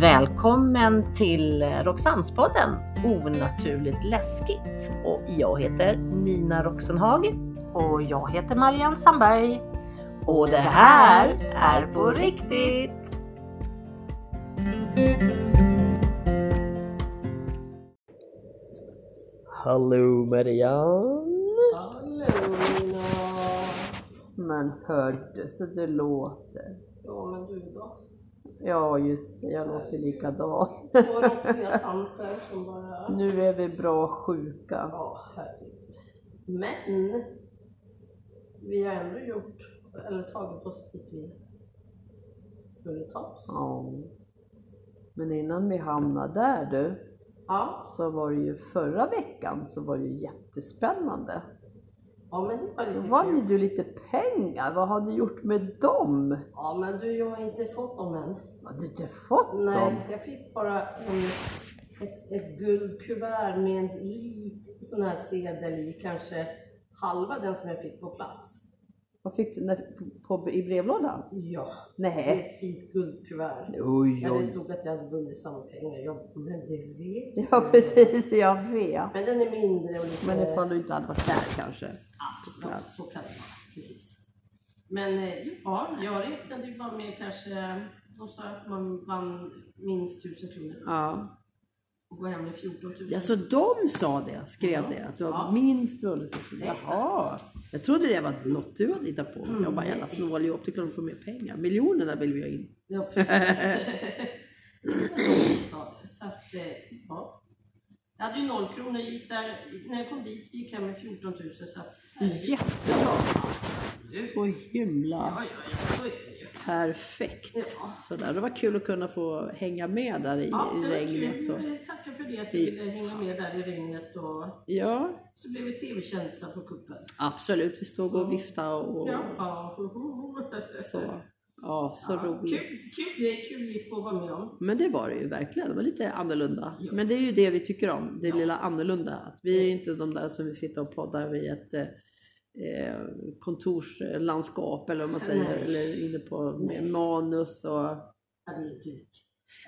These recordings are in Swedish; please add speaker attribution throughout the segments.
Speaker 1: Välkommen till Roxannespodden Onaturligt läskigt. Och jag heter Nina Roxenhag.
Speaker 2: Och jag heter Marianne Sandberg.
Speaker 1: Och det här är på riktigt! Hallå Marianne!
Speaker 2: Hallå Nina!
Speaker 1: Men hör du så det låter?
Speaker 2: Ja men du då?
Speaker 1: Ja just det, jag låter likadan.
Speaker 2: Några rostiga tanter som bara...
Speaker 1: Nu är vi bra sjuka.
Speaker 2: Ja herregud. Men! Vi har ändå gjort, eller tagit oss dit vi skulle ta oss.
Speaker 1: Ja. Men innan vi hamnar där du,
Speaker 2: Ja.
Speaker 1: så var det ju förra veckan så var det ju jättespännande.
Speaker 2: Ja men det var
Speaker 1: Då
Speaker 2: lite
Speaker 1: vann ju
Speaker 2: kul.
Speaker 1: du lite pengar, vad har du gjort med dem?
Speaker 2: Ja men du, jag har inte fått dem än.
Speaker 1: Har du inte fått dem?
Speaker 2: Nej, jag fick bara en, ett, ett guldkuvert med en liten sån här sedel i, kanske halva den som jag fick på plats.
Speaker 1: Vad fick du när, på, på, i brevlådan?
Speaker 2: Ja, det är
Speaker 1: Nej.
Speaker 2: ett fint guldkuvert.
Speaker 1: Oj,
Speaker 2: Där det
Speaker 1: oj.
Speaker 2: stod att jag hade vunnit samma pengar. Ja, men det vet
Speaker 1: Ja
Speaker 2: du.
Speaker 1: precis, jag vet.
Speaker 2: Men den är mindre och lite...
Speaker 1: Men ifall du inte hade varit där kanske?
Speaker 2: Absolut, så kan det vara. Precis. Men eh, ja, jag räknade ju bara med kanske... eh, De sa att man vann minst 1000 kronor
Speaker 1: Ja.
Speaker 2: och går hem med 14 000.
Speaker 3: Ja, så de sa det, skrev
Speaker 2: Ja.
Speaker 3: det, att du har
Speaker 2: Ja.
Speaker 3: minst vunnit tusen.
Speaker 2: Exakt.
Speaker 3: Jaha. Jag trodde det var något du hade hittat på. Jag
Speaker 2: Mm.
Speaker 3: bara, jävla snåljåp, det är klart de får mer pengar. Miljonerna vill vi ha in.
Speaker 2: Ja, precis. Ja, så att, eh, ja. Jag hade ju noll kronor, jag gick där, när jag kom dit gick jag med 14 000 så att...
Speaker 3: Jättebra!
Speaker 2: Herregud.
Speaker 3: Så himla
Speaker 2: Ja, ja, ja, så är det ju.
Speaker 3: perfekt.
Speaker 2: Ja.
Speaker 3: Sådär. Det var kul att kunna få hänga med där i,
Speaker 2: Ja,
Speaker 3: i
Speaker 2: det var
Speaker 3: regnet. Och,
Speaker 2: kul. Tackar för det att du ville hänga med där i regnet och
Speaker 3: ja,
Speaker 2: så blev vi tv-kändisar på kuppen.
Speaker 3: absolut. Vi stod och viftade och
Speaker 2: Ja, ja. ho, ho, ho.
Speaker 3: så. Ja, så
Speaker 2: Ja,
Speaker 3: roligt.
Speaker 2: Kul, kul grej, kul gick att vara med om.
Speaker 3: Men det var det ju verkligen. Det var lite annorlunda.
Speaker 2: Ja.
Speaker 3: Men det är ju det vi tycker om, det
Speaker 2: Ja.
Speaker 3: lilla annorlunda. Att vi är ju inte de där som vill sitta och podda vid ett eh, eh, kontorslandskap eller vad man säger,
Speaker 2: Nej.
Speaker 3: eller inne på med
Speaker 2: Nej.
Speaker 3: manus och...
Speaker 2: Ja, det är dyrt.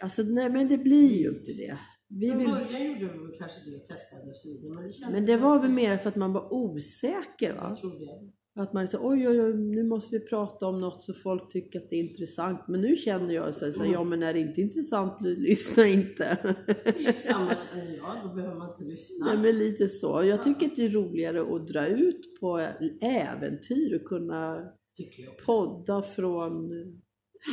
Speaker 3: Alltså nej, men det blir ju inte det. Vi
Speaker 2: I
Speaker 3: vill...
Speaker 2: början gjorde vi väl kanske det, testade och så vidare. Men det, kändes
Speaker 3: Men det var väl
Speaker 2: ganska-
Speaker 3: mer för att man var osäker va?
Speaker 2: Jag tror det.
Speaker 3: Att man sa oj, oj, oj, nu måste vi prata om något så folk tycker att det är intressant. Men nu känner jag så här,
Speaker 2: Mm.
Speaker 3: så här, ja men är det inte intressant, lyssna inte.
Speaker 2: Typ samma känner jag, då behöver man inte lyssna.
Speaker 3: Nej, men lite så. Jag tycker att det är roligare att dra ut på äventyr och kunna
Speaker 2: Tycker jag.
Speaker 3: podda från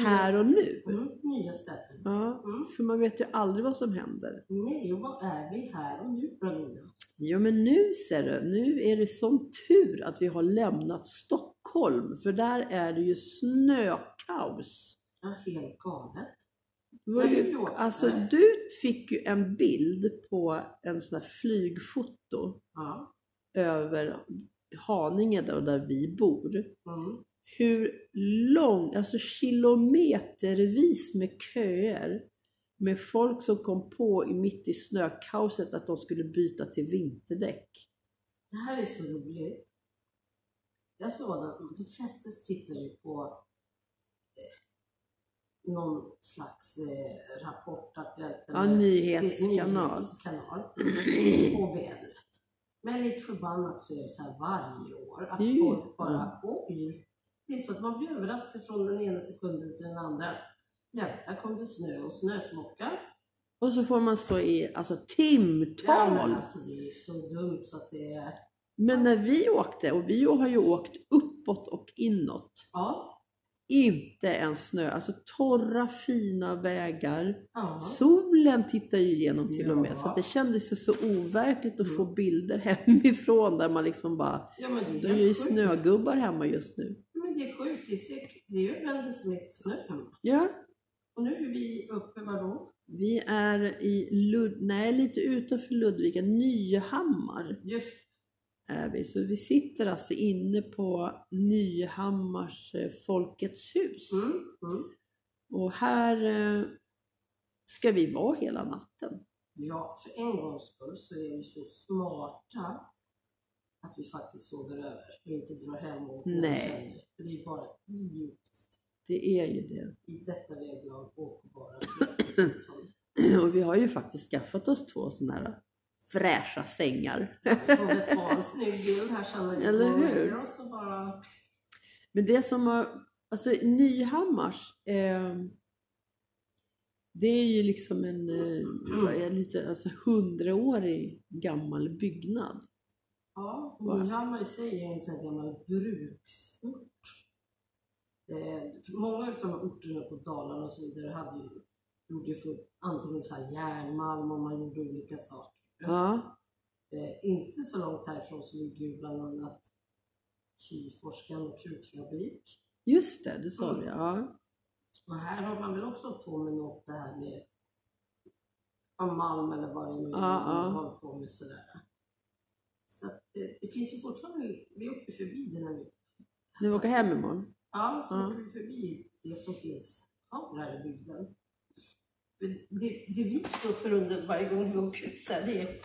Speaker 3: här och nu.
Speaker 2: Mm, nya ställen.
Speaker 3: Ja,
Speaker 2: Mm.
Speaker 3: för man vet ju aldrig vad som händer.
Speaker 2: Nej, och vad är vi här och nu då Nina?
Speaker 3: Jo, men nu ser du, nu är det sån tur att vi har lämnat Stockholm, för där är det ju snökaos.
Speaker 2: Ja, helt galet.
Speaker 3: Det var
Speaker 2: Nej, men
Speaker 3: ju,
Speaker 2: jo,
Speaker 3: alltså,
Speaker 2: nej.
Speaker 3: du fick ju en bild på en sån här flygfoto
Speaker 2: Ja.
Speaker 3: över Haninge där, där vi bor.
Speaker 2: Mm.
Speaker 3: hur lång, alltså kilometervis med köer med folk som kom på i mitt i snökaoset att de skulle byta till vinterdäck.
Speaker 2: Det här är så roligt. Jag såg att de flesta tittar ju på eh, någon slags eh, rapport. Att det,
Speaker 3: Ja, nyhetskanal.
Speaker 2: nyhetskanal och vädret. Men lite förbannat så är det så här varje år att
Speaker 3: Mm.
Speaker 2: folk bara oj. Det är så att man blir överraskad från den ena sekunden till den andra. Jävlar kom det snö och snösmockar.
Speaker 3: Och så får man stå i alltså
Speaker 2: Ja,
Speaker 3: timtal.
Speaker 2: men alltså det är så dumt så att det är...
Speaker 3: Men när vi åkte, och vi har ju åkt uppåt och inåt,
Speaker 2: Ja.
Speaker 3: inte en snö, alltså torra fina vägar.
Speaker 2: ja.
Speaker 3: Solen tittar ju igenom till och med, så
Speaker 2: Ja. Mm.
Speaker 3: att det kändes ju så overkligt att få bilder hemifrån där man liksom bara
Speaker 2: ja men det är
Speaker 3: De är ju
Speaker 2: helt sjukt.
Speaker 3: snögubbar hemma just nu.
Speaker 2: Men det är sjukt. Det är, säkert- det är ju vänder som heter snö hemma.
Speaker 3: Ja,
Speaker 2: Och nu är vi uppe vadå?
Speaker 3: vi är i Lud- nej, lite utanför Ludvika, Nyhammar
Speaker 2: Just
Speaker 3: är vi. Så vi sitter alltså inne på Nyhammars eh, Folkets hus.
Speaker 2: mm, mm.
Speaker 3: Och här eh, ska vi vara hela natten.
Speaker 2: Ja, för en gångs skull så är vi så smarta att vi faktiskt sover över. Vi inte drar hem och åker när vi
Speaker 3: Nej.
Speaker 2: känner. För det är bara idiotiskt.
Speaker 3: Det är ju det.
Speaker 2: I detta väglag åker bara till-
Speaker 3: Och vi har ju faktiskt skaffat oss två sådana här fräscha sängar.
Speaker 2: Vi får väl ta en snygg bild här sen när vi
Speaker 3: Eller
Speaker 2: går och
Speaker 3: hur?
Speaker 2: lägger oss och bara...
Speaker 3: Men det som har, alltså Nyhammars, eh, det är ju liksom en eh, vad är det, lite, alltså, hundraårig gammal byggnad.
Speaker 2: Ja, Nyhammar i sig är ju en sån här gammal bruksort. Eh, för många av de här orterna på Dalarna och så vidare hade ju, gjorde ju för antingen så här järnmalm och man gjorde olika saker.
Speaker 3: Ja,
Speaker 2: Eh, inte så långt härifrån så ligger ju bland annat Kyforskan och krutfabrik.
Speaker 3: just det, det sa
Speaker 2: Mm.
Speaker 3: du ja.
Speaker 2: Och här har man väl också hållit på med något det här med ja, malm eller vad det nu är
Speaker 3: Ja, ja.
Speaker 2: man håller på med sådär. Så att, det, det finns ju fortfarande, vi åker förbi det när vi
Speaker 3: När vi åker hem imorgon.
Speaker 2: Ja, så
Speaker 3: Ja.
Speaker 2: åker vi förbi det som finns kvar här i bygden. För det, det vi står förundrade varje gång vi åker ut så här, det är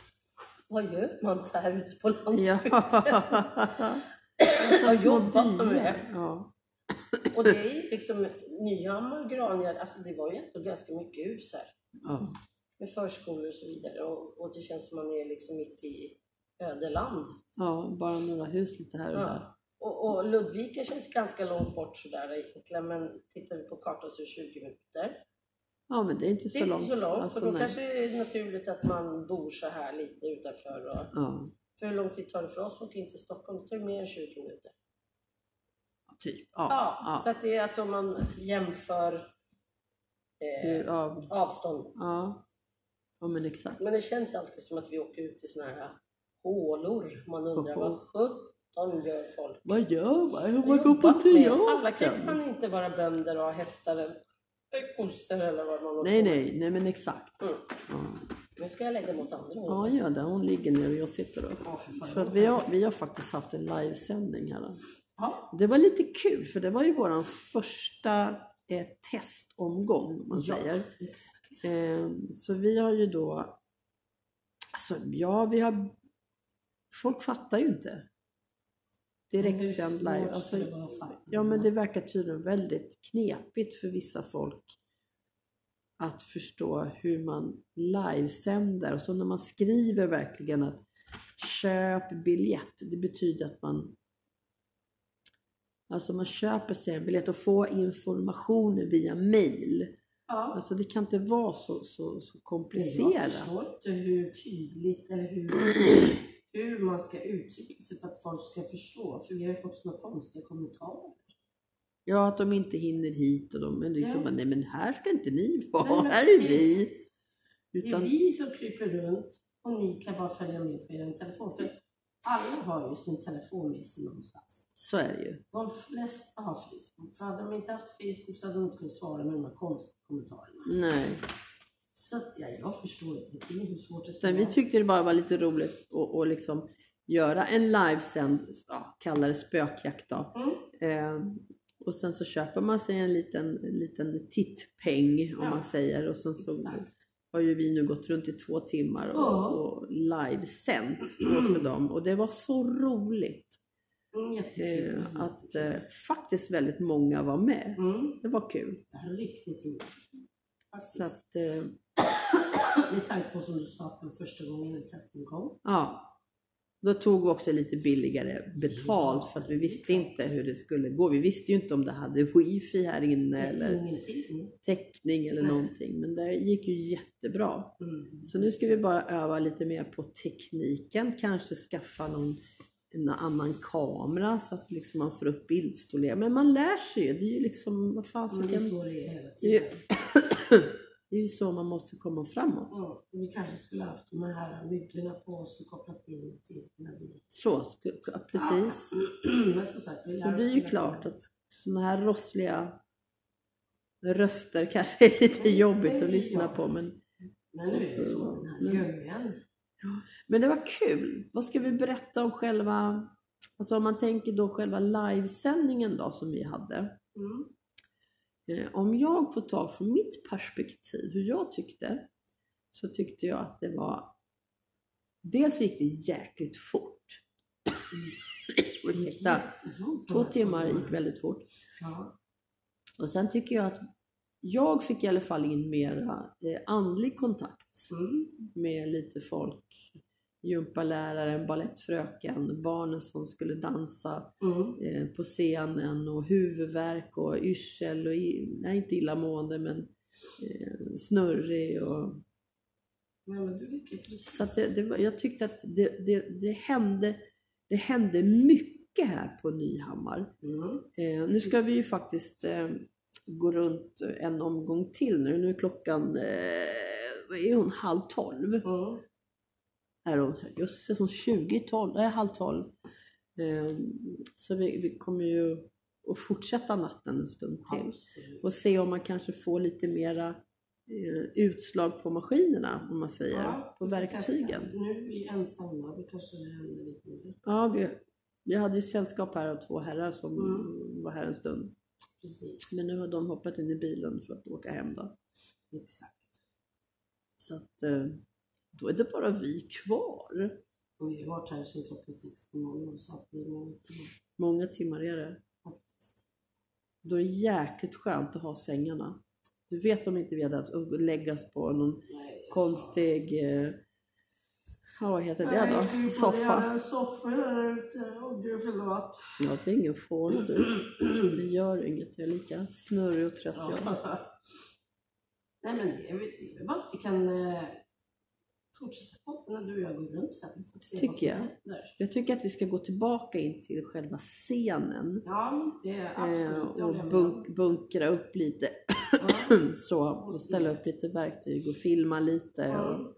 Speaker 2: vad gör man så här ute på
Speaker 3: Ja.
Speaker 2: landsbygden?
Speaker 3: Så
Speaker 2: Vad
Speaker 3: små
Speaker 2: jobbar man med?
Speaker 3: byar. Ja.
Speaker 2: Och det är ju liksom Nyhammar, Grangärde, alltså det var ju ändå ganska mycket hus här
Speaker 3: Ja.
Speaker 2: med förskolor och så vidare och, och det känns som man är liksom mitt i ödeland.
Speaker 3: ja, bara några hus lite här och där.
Speaker 2: Ja. Och, och Ludvika känns ganska långt bort sådär egentligen men tittar vi på kartan så är det 20 minuter.
Speaker 3: Ja, men det är inte
Speaker 2: Det
Speaker 3: så
Speaker 2: är
Speaker 3: långt.
Speaker 2: inte så långt
Speaker 3: Alltså,
Speaker 2: och då
Speaker 3: nej.
Speaker 2: kanske det är naturligt att man bor så här lite utanför. Och,
Speaker 3: Ja,
Speaker 2: för hur lång tid tar det för oss att åka in till Stockholm? Det tar ju mer än 20 minuter.
Speaker 3: typ.
Speaker 2: Ja,
Speaker 3: Ja, ja.
Speaker 2: Så att det är alltså om man jämför eh,
Speaker 3: Hur- ja.
Speaker 2: avstånd.
Speaker 3: ja. ja men exakt.
Speaker 2: Men det känns alltid som att vi åker ut i såna här hålor. Man undrar
Speaker 3: Oho.
Speaker 2: vad sjutton gör folk?
Speaker 3: Vad gör man? Hur man
Speaker 2: Vad
Speaker 3: går
Speaker 2: jobbar
Speaker 3: på
Speaker 2: med? Alla kan
Speaker 3: teatern?
Speaker 2: fan inte vara bönder och ha hästar eller eller kossor eller vad man håller
Speaker 3: Nej,
Speaker 2: på med.
Speaker 3: nej, nej men exakt.
Speaker 2: Mm.
Speaker 3: Ja.
Speaker 2: Nu ska jag lägga mot andra hållet.
Speaker 3: Ja, gör det. Hon ligger ner och jag sitter upp.
Speaker 2: Ja, för fan.
Speaker 3: För att vi, har, vi har faktiskt haft en livesändning här.
Speaker 2: Ja.
Speaker 3: Det var lite kul, för det var ju vår första eh, testomgång, om man
Speaker 2: Ja.
Speaker 3: säger.
Speaker 2: Exakt.
Speaker 3: Eh, så vi har ju då... Alltså, ja, vi har... Folk fattar ju inte. Direktsänd live. Alltså, Ja,
Speaker 2: Mm.
Speaker 3: men det verkar tydligen väldigt knepigt för vissa folk att förstå hur man livesänder. Och så när man skriver verkligen att köp biljett, det betyder att man Alltså man köper sig en biljett och får information via mail.
Speaker 2: Ja.
Speaker 3: Alltså det kan inte vara så, så, så
Speaker 2: Jag
Speaker 3: komplicerat.
Speaker 2: förstår inte hur tydligt eller hur, hur man ska uttrycka sig för att folk ska förstå. För vi har ju fått såna konstiga kommentarer.
Speaker 3: Ja, att de inte hinner hit och de är liksom,
Speaker 2: Ja.
Speaker 3: bara, nej men här ska inte ni
Speaker 2: Nej,
Speaker 3: vara,
Speaker 2: men
Speaker 3: här är
Speaker 2: precis.
Speaker 3: vi. Utan,
Speaker 2: Det är vi som kryper runt och ni kan bara följa med på er telefon. För alla har ju sin telefon med sig någonstans.
Speaker 3: så är det ju.
Speaker 2: De flesta har Facebook. För hade de inte haft Facebook så hade de inte kunnat svara med de här konstiga kommentarerna.
Speaker 3: Nej.
Speaker 2: Så att, ja, jag förstår inte hur svårt det ska
Speaker 3: Utan vi tyckte det bara var lite roligt att att liksom göra en livesänd, ja, kalla det spökjakt då.
Speaker 2: Mm.
Speaker 3: Eh, och sen så köper man sig en liten, liten tittpeng om
Speaker 2: Ja.
Speaker 3: man säger. Och sen så
Speaker 2: Exakt.
Speaker 3: har ju vi nu gått runt i två timmar och,
Speaker 2: Ja.
Speaker 3: och livesänt då för dem. Och det var så roligt
Speaker 2: Mm, jättekul.
Speaker 3: eh, att eh, faktiskt väldigt många var med.
Speaker 2: Mm,
Speaker 3: Det var kul.
Speaker 2: det här är riktigt roligt. Faktiskt.
Speaker 3: Så att, eh,
Speaker 2: Med tanke på som du sa att det var första gången en testing kom.
Speaker 3: Ja. Då tog vi också lite billigare betalt för att vi visste inte hur det skulle gå. Vi visste ju inte om det hade wifi här inne eller
Speaker 2: Ingenting.
Speaker 3: täckning eller
Speaker 2: Nej.
Speaker 3: någonting. Men det gick ju jättebra.
Speaker 2: Mm.
Speaker 3: Så nu ska vi bara öva lite mer på tekniken. Kanske skaffa någon en annan kamera så att liksom man får upp bildstorlek. Men man lär sig ju. Det är ju liksom, vad fan ska
Speaker 2: Men det är
Speaker 3: jag...
Speaker 2: så det är hela
Speaker 3: Det är
Speaker 2: tiden.
Speaker 3: ju- det är ju så man måste komma framåt.
Speaker 2: Ja, vi kanske skulle haft de här myggorna på oss och kopplat in till när vi...
Speaker 3: Så, sku- ja, precis.
Speaker 2: Men som sagt, vi lär
Speaker 3: Och det är
Speaker 2: oss
Speaker 3: ju
Speaker 2: hela
Speaker 3: klart
Speaker 2: tiden.
Speaker 3: att sådana här rossliga röster kanske är lite
Speaker 2: Mm,
Speaker 3: jobbigt
Speaker 2: det
Speaker 3: att
Speaker 2: är
Speaker 3: lyssna
Speaker 2: jag.
Speaker 3: på. Men,
Speaker 2: Men nu är det ju så, den här
Speaker 3: Men-
Speaker 2: gögen.
Speaker 3: men det var kul. Vad ska vi berätta om själva, alltså om man tänker då själva livesändningen då som vi hade.
Speaker 2: Mm.
Speaker 3: Eh, Om jag får ta från mitt perspektiv hur jag tyckte, så tyckte jag att det var, dels gick det jäkligt fort. Ursäkta,
Speaker 2: Jättefort.
Speaker 3: två timmar gick väldigt fort.
Speaker 2: Mm. Ja.
Speaker 3: Och sen tycker jag att jag fick i alla fall in mera eh, andlig kontakt
Speaker 2: Mm.
Speaker 3: med lite folk. Gympaläraren, balettfröken, barnen som skulle dansa
Speaker 2: Mm.
Speaker 3: eh, på scenen och huvudvärk och yrsel och i, nej, inte illamående men eh, snurrig och
Speaker 2: Nej, men du fick ju precis.
Speaker 3: så att det, det, var- jag tyckte att det, det, det, hände, det hände mycket här på Nyhammar.
Speaker 2: Mm.
Speaker 3: Eh, nu ska vi ju faktiskt eh, gå runt en omgång till nu. Nu är klockan, eh, vad är hon, halv tolv?
Speaker 2: Mm.
Speaker 3: Är hon, jösses, hon 20 i tolv, nej halv tolv. Eh, så vi, vi kommer ju att fortsätta natten en stund till
Speaker 2: Absolut.
Speaker 3: och se om man kanske får lite mera eh, utslag på maskinerna, om man säger,
Speaker 2: Ja,
Speaker 3: på
Speaker 2: vi får
Speaker 3: verktygen.
Speaker 2: testa. Nu är vi ensamma, då kanske det händer lite mer.
Speaker 3: Ja, vi, vi hade ju sällskap här av två herrar som
Speaker 2: Mm.
Speaker 3: var här en stund.
Speaker 2: Precis,
Speaker 3: Men nu har de hoppat in i bilen för att åka hem då.
Speaker 2: exakt.
Speaker 3: Så att eh, då är det bara vi kvar.
Speaker 2: Och vi har varit här sedan klockan sex på morgonen så att det är många timmar
Speaker 3: Många timmar är det.
Speaker 2: faktiskt.
Speaker 3: Då är det jäkligt skönt att ha sängarna. Du vet om inte vi hade haft att läggas på någon
Speaker 2: Nej, alltså.
Speaker 3: konstig, eh, ja vad heter det
Speaker 2: Nej, vi
Speaker 3: då?
Speaker 2: får
Speaker 3: Soffa.
Speaker 2: göra en Soffa där ute. Åh gud förlåt.
Speaker 3: Ja, det är ingen fara du. Det gör inget. Jag är lika snurrig och trött jag.
Speaker 2: Nej men det är väl det är väl bara att vi kan eh, fortsätta podden när du och jag går runt sen. Får se vad
Speaker 3: Tycker
Speaker 2: som
Speaker 3: jag.
Speaker 2: händer.
Speaker 3: Jag tycker att vi ska gå tillbaka in till själva scenen.
Speaker 2: Ja, men det är
Speaker 3: Eh,
Speaker 2: absolut. det
Speaker 3: och
Speaker 2: håller jag med om.
Speaker 3: bunk- bunkra upp lite
Speaker 2: Ja,
Speaker 3: så. Och ställa upp lite verktyg och filma lite. Och,
Speaker 2: ja.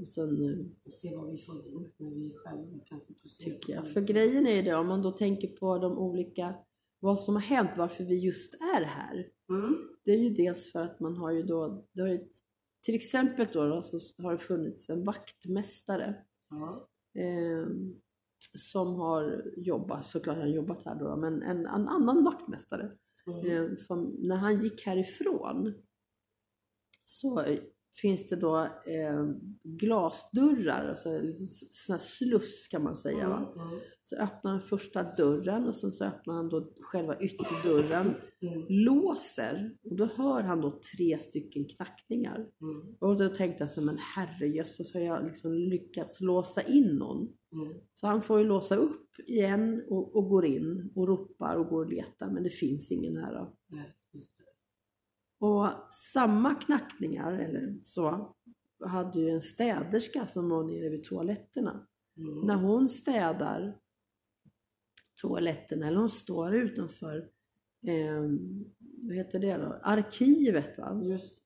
Speaker 3: och sen eh,
Speaker 2: Och se vad vi får in när vi själva kan fokusera. på
Speaker 3: tycker jag. För
Speaker 2: tanken.
Speaker 3: grejen är ju det, om man då tänker på de olika, vad som har hänt, varför vi just är här.
Speaker 2: Mm.
Speaker 3: Det är ju dels för att man har ju då, det har ju, till exempel då, då så har det funnits en vaktmästare
Speaker 2: Ja.
Speaker 3: eh, som har jobbat, såklart han har jobbat här då, då, men en, en annan vaktmästare
Speaker 2: Mm.
Speaker 3: eh, som, när han gick härifrån så eh, finns det då eh, glasdörrar, alltså en sån här sluss kan man säga. Va?
Speaker 2: Mm.
Speaker 3: Så öppnar han första dörren och sen så öppnar han då själva ytterdörren,
Speaker 2: Mm.
Speaker 3: låser och då hör han då tre stycken knackningar.
Speaker 2: Mm.
Speaker 3: Och då tänkte jag så men herrejösses har jag liksom lyckats låsa in någon?
Speaker 2: Mm.
Speaker 3: Så han får ju låsa upp igen och, och går in och ropar och går och letar men det finns ingen här. Då.
Speaker 2: Nej, just det.
Speaker 3: Och samma knackningar eller så hade ju en städerska som var nere vid toaletterna
Speaker 2: Mm.
Speaker 3: när hon städar toaletten eller hon står utanför eh, vad heter det då? arkivet va?
Speaker 2: Just det.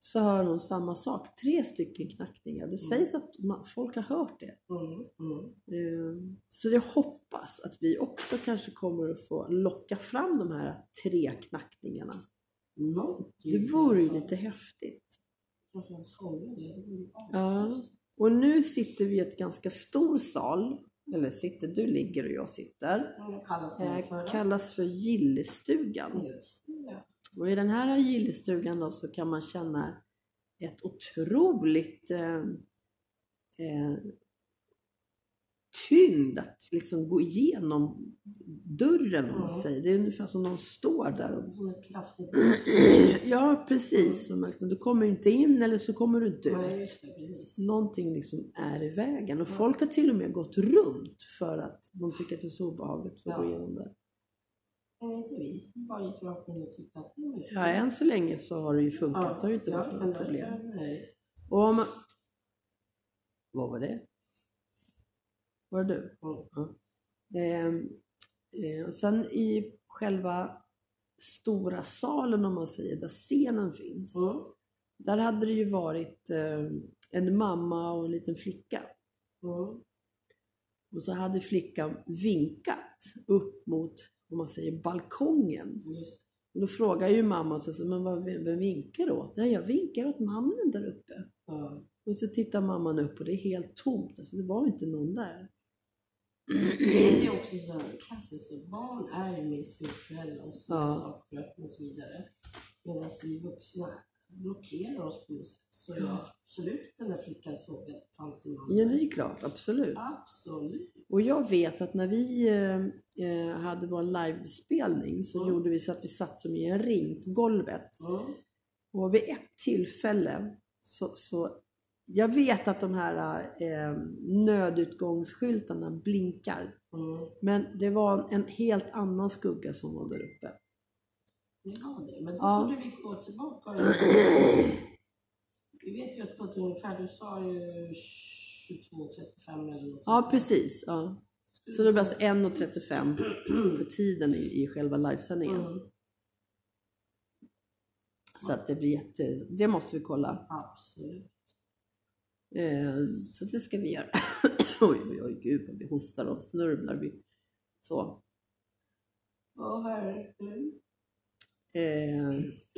Speaker 3: så hör hon samma sak. Tre stycken knackningar. Det sägs att man, folk har hört det.
Speaker 2: Mm. Mm.
Speaker 3: Eh, så jag hoppas att vi också kanske kommer att få locka fram de här tre knackningarna.
Speaker 2: Något
Speaker 3: Det vore ju lite häftigt.
Speaker 2: Varför sågar det? Det vore
Speaker 3: Ja.
Speaker 2: asfett.
Speaker 3: Och nu sitter vi i ett ganska stor sal. Eller sitter, du ligger och jag sitter.
Speaker 2: Vad kallas den för?
Speaker 3: eh, kallas för gillestugan.
Speaker 2: Just det. ja.
Speaker 3: Och i den här gillestugan då så kan man känna ett otroligt eh, eh, tyngd att liksom gå igenom dörren om man
Speaker 2: Mm.
Speaker 3: säger. Det är ungefär som någon står där. Och,
Speaker 2: Som ett kraftigt
Speaker 3: ja precis, Och man liksom, du kommer inte in eller så kommer du inte
Speaker 2: Nej,
Speaker 3: ut.
Speaker 2: just det. Precis.
Speaker 3: Någonting liksom är i vägen och
Speaker 2: Ja.
Speaker 3: folk har till och med gått runt för att de tycker att det är så obehagligt för att
Speaker 2: Ja.
Speaker 3: gå igenom där.
Speaker 2: Men inte vi. Bara gick rakt in och tyckte att det var
Speaker 3: Ja, än så länge så har det ju funkat. det har ju inte
Speaker 2: ja,
Speaker 3: varit
Speaker 2: men
Speaker 3: något
Speaker 2: det-
Speaker 3: problem.
Speaker 2: Nej.
Speaker 3: Och om... Vad var det? Var det du?
Speaker 2: Mm.
Speaker 3: Ehm, eh, och sen i själva stora salen om man säger, där scenen finns.
Speaker 2: Mm.
Speaker 3: Där hade det ju varit eh, en mamma och en liten flicka.
Speaker 2: Mm.
Speaker 3: Och så hade flickan vinkat upp mot, om man säger, balkongen.
Speaker 2: Just
Speaker 3: Och då frågar ju mamma, så, så, men vad, vem vinkar du åt? Ja, jag vinkar åt mannen där uppe.
Speaker 2: ja.
Speaker 3: Och så tittar mamman upp och det är helt tomt. Alltså det var inte någon där.
Speaker 2: Mm. Det är också så här klassiskt. så Barn är ju mer spirituella och ser
Speaker 3: Ja.
Speaker 2: saker och öppna och så vidare. Medan vi vuxna blockerar oss på något sätt. Så jag, absolut, den där flickan såg att det fanns en
Speaker 3: Ja, det är klart, absolut.
Speaker 2: Absolut.
Speaker 3: Och jag vet att när vi eh, eh, hade vår livespelning så
Speaker 2: Mm.
Speaker 3: gjorde vi så att vi satt som i en ring på golvet.
Speaker 2: Mm.
Speaker 3: Och vid ett tillfälle så, så jag vet att de här eh, nödutgångsskyltarna blinkar.
Speaker 2: Mm.
Speaker 3: Men det var en helt annan skugga som var där uppe.
Speaker 2: Ja, det. Men då
Speaker 3: Ja.
Speaker 2: borde vi gå tillbaka. och- Vi vet ju att på ett ungefär, du sa ju 22.35 eller något.
Speaker 3: Ja,
Speaker 2: sånt.
Speaker 3: precis. Ja. Så det blir alltså 1.35 på tiden i, i själva livesändningen.
Speaker 2: Mm.
Speaker 3: Så att det blir jätte... Det måste vi kolla.
Speaker 2: Absolut.
Speaker 3: Eh, så det ska vi göra. oj, oj, oj, gud vad vi hostar och snörvlar. Vi. Så.
Speaker 2: Åh herregud.
Speaker 3: Eh,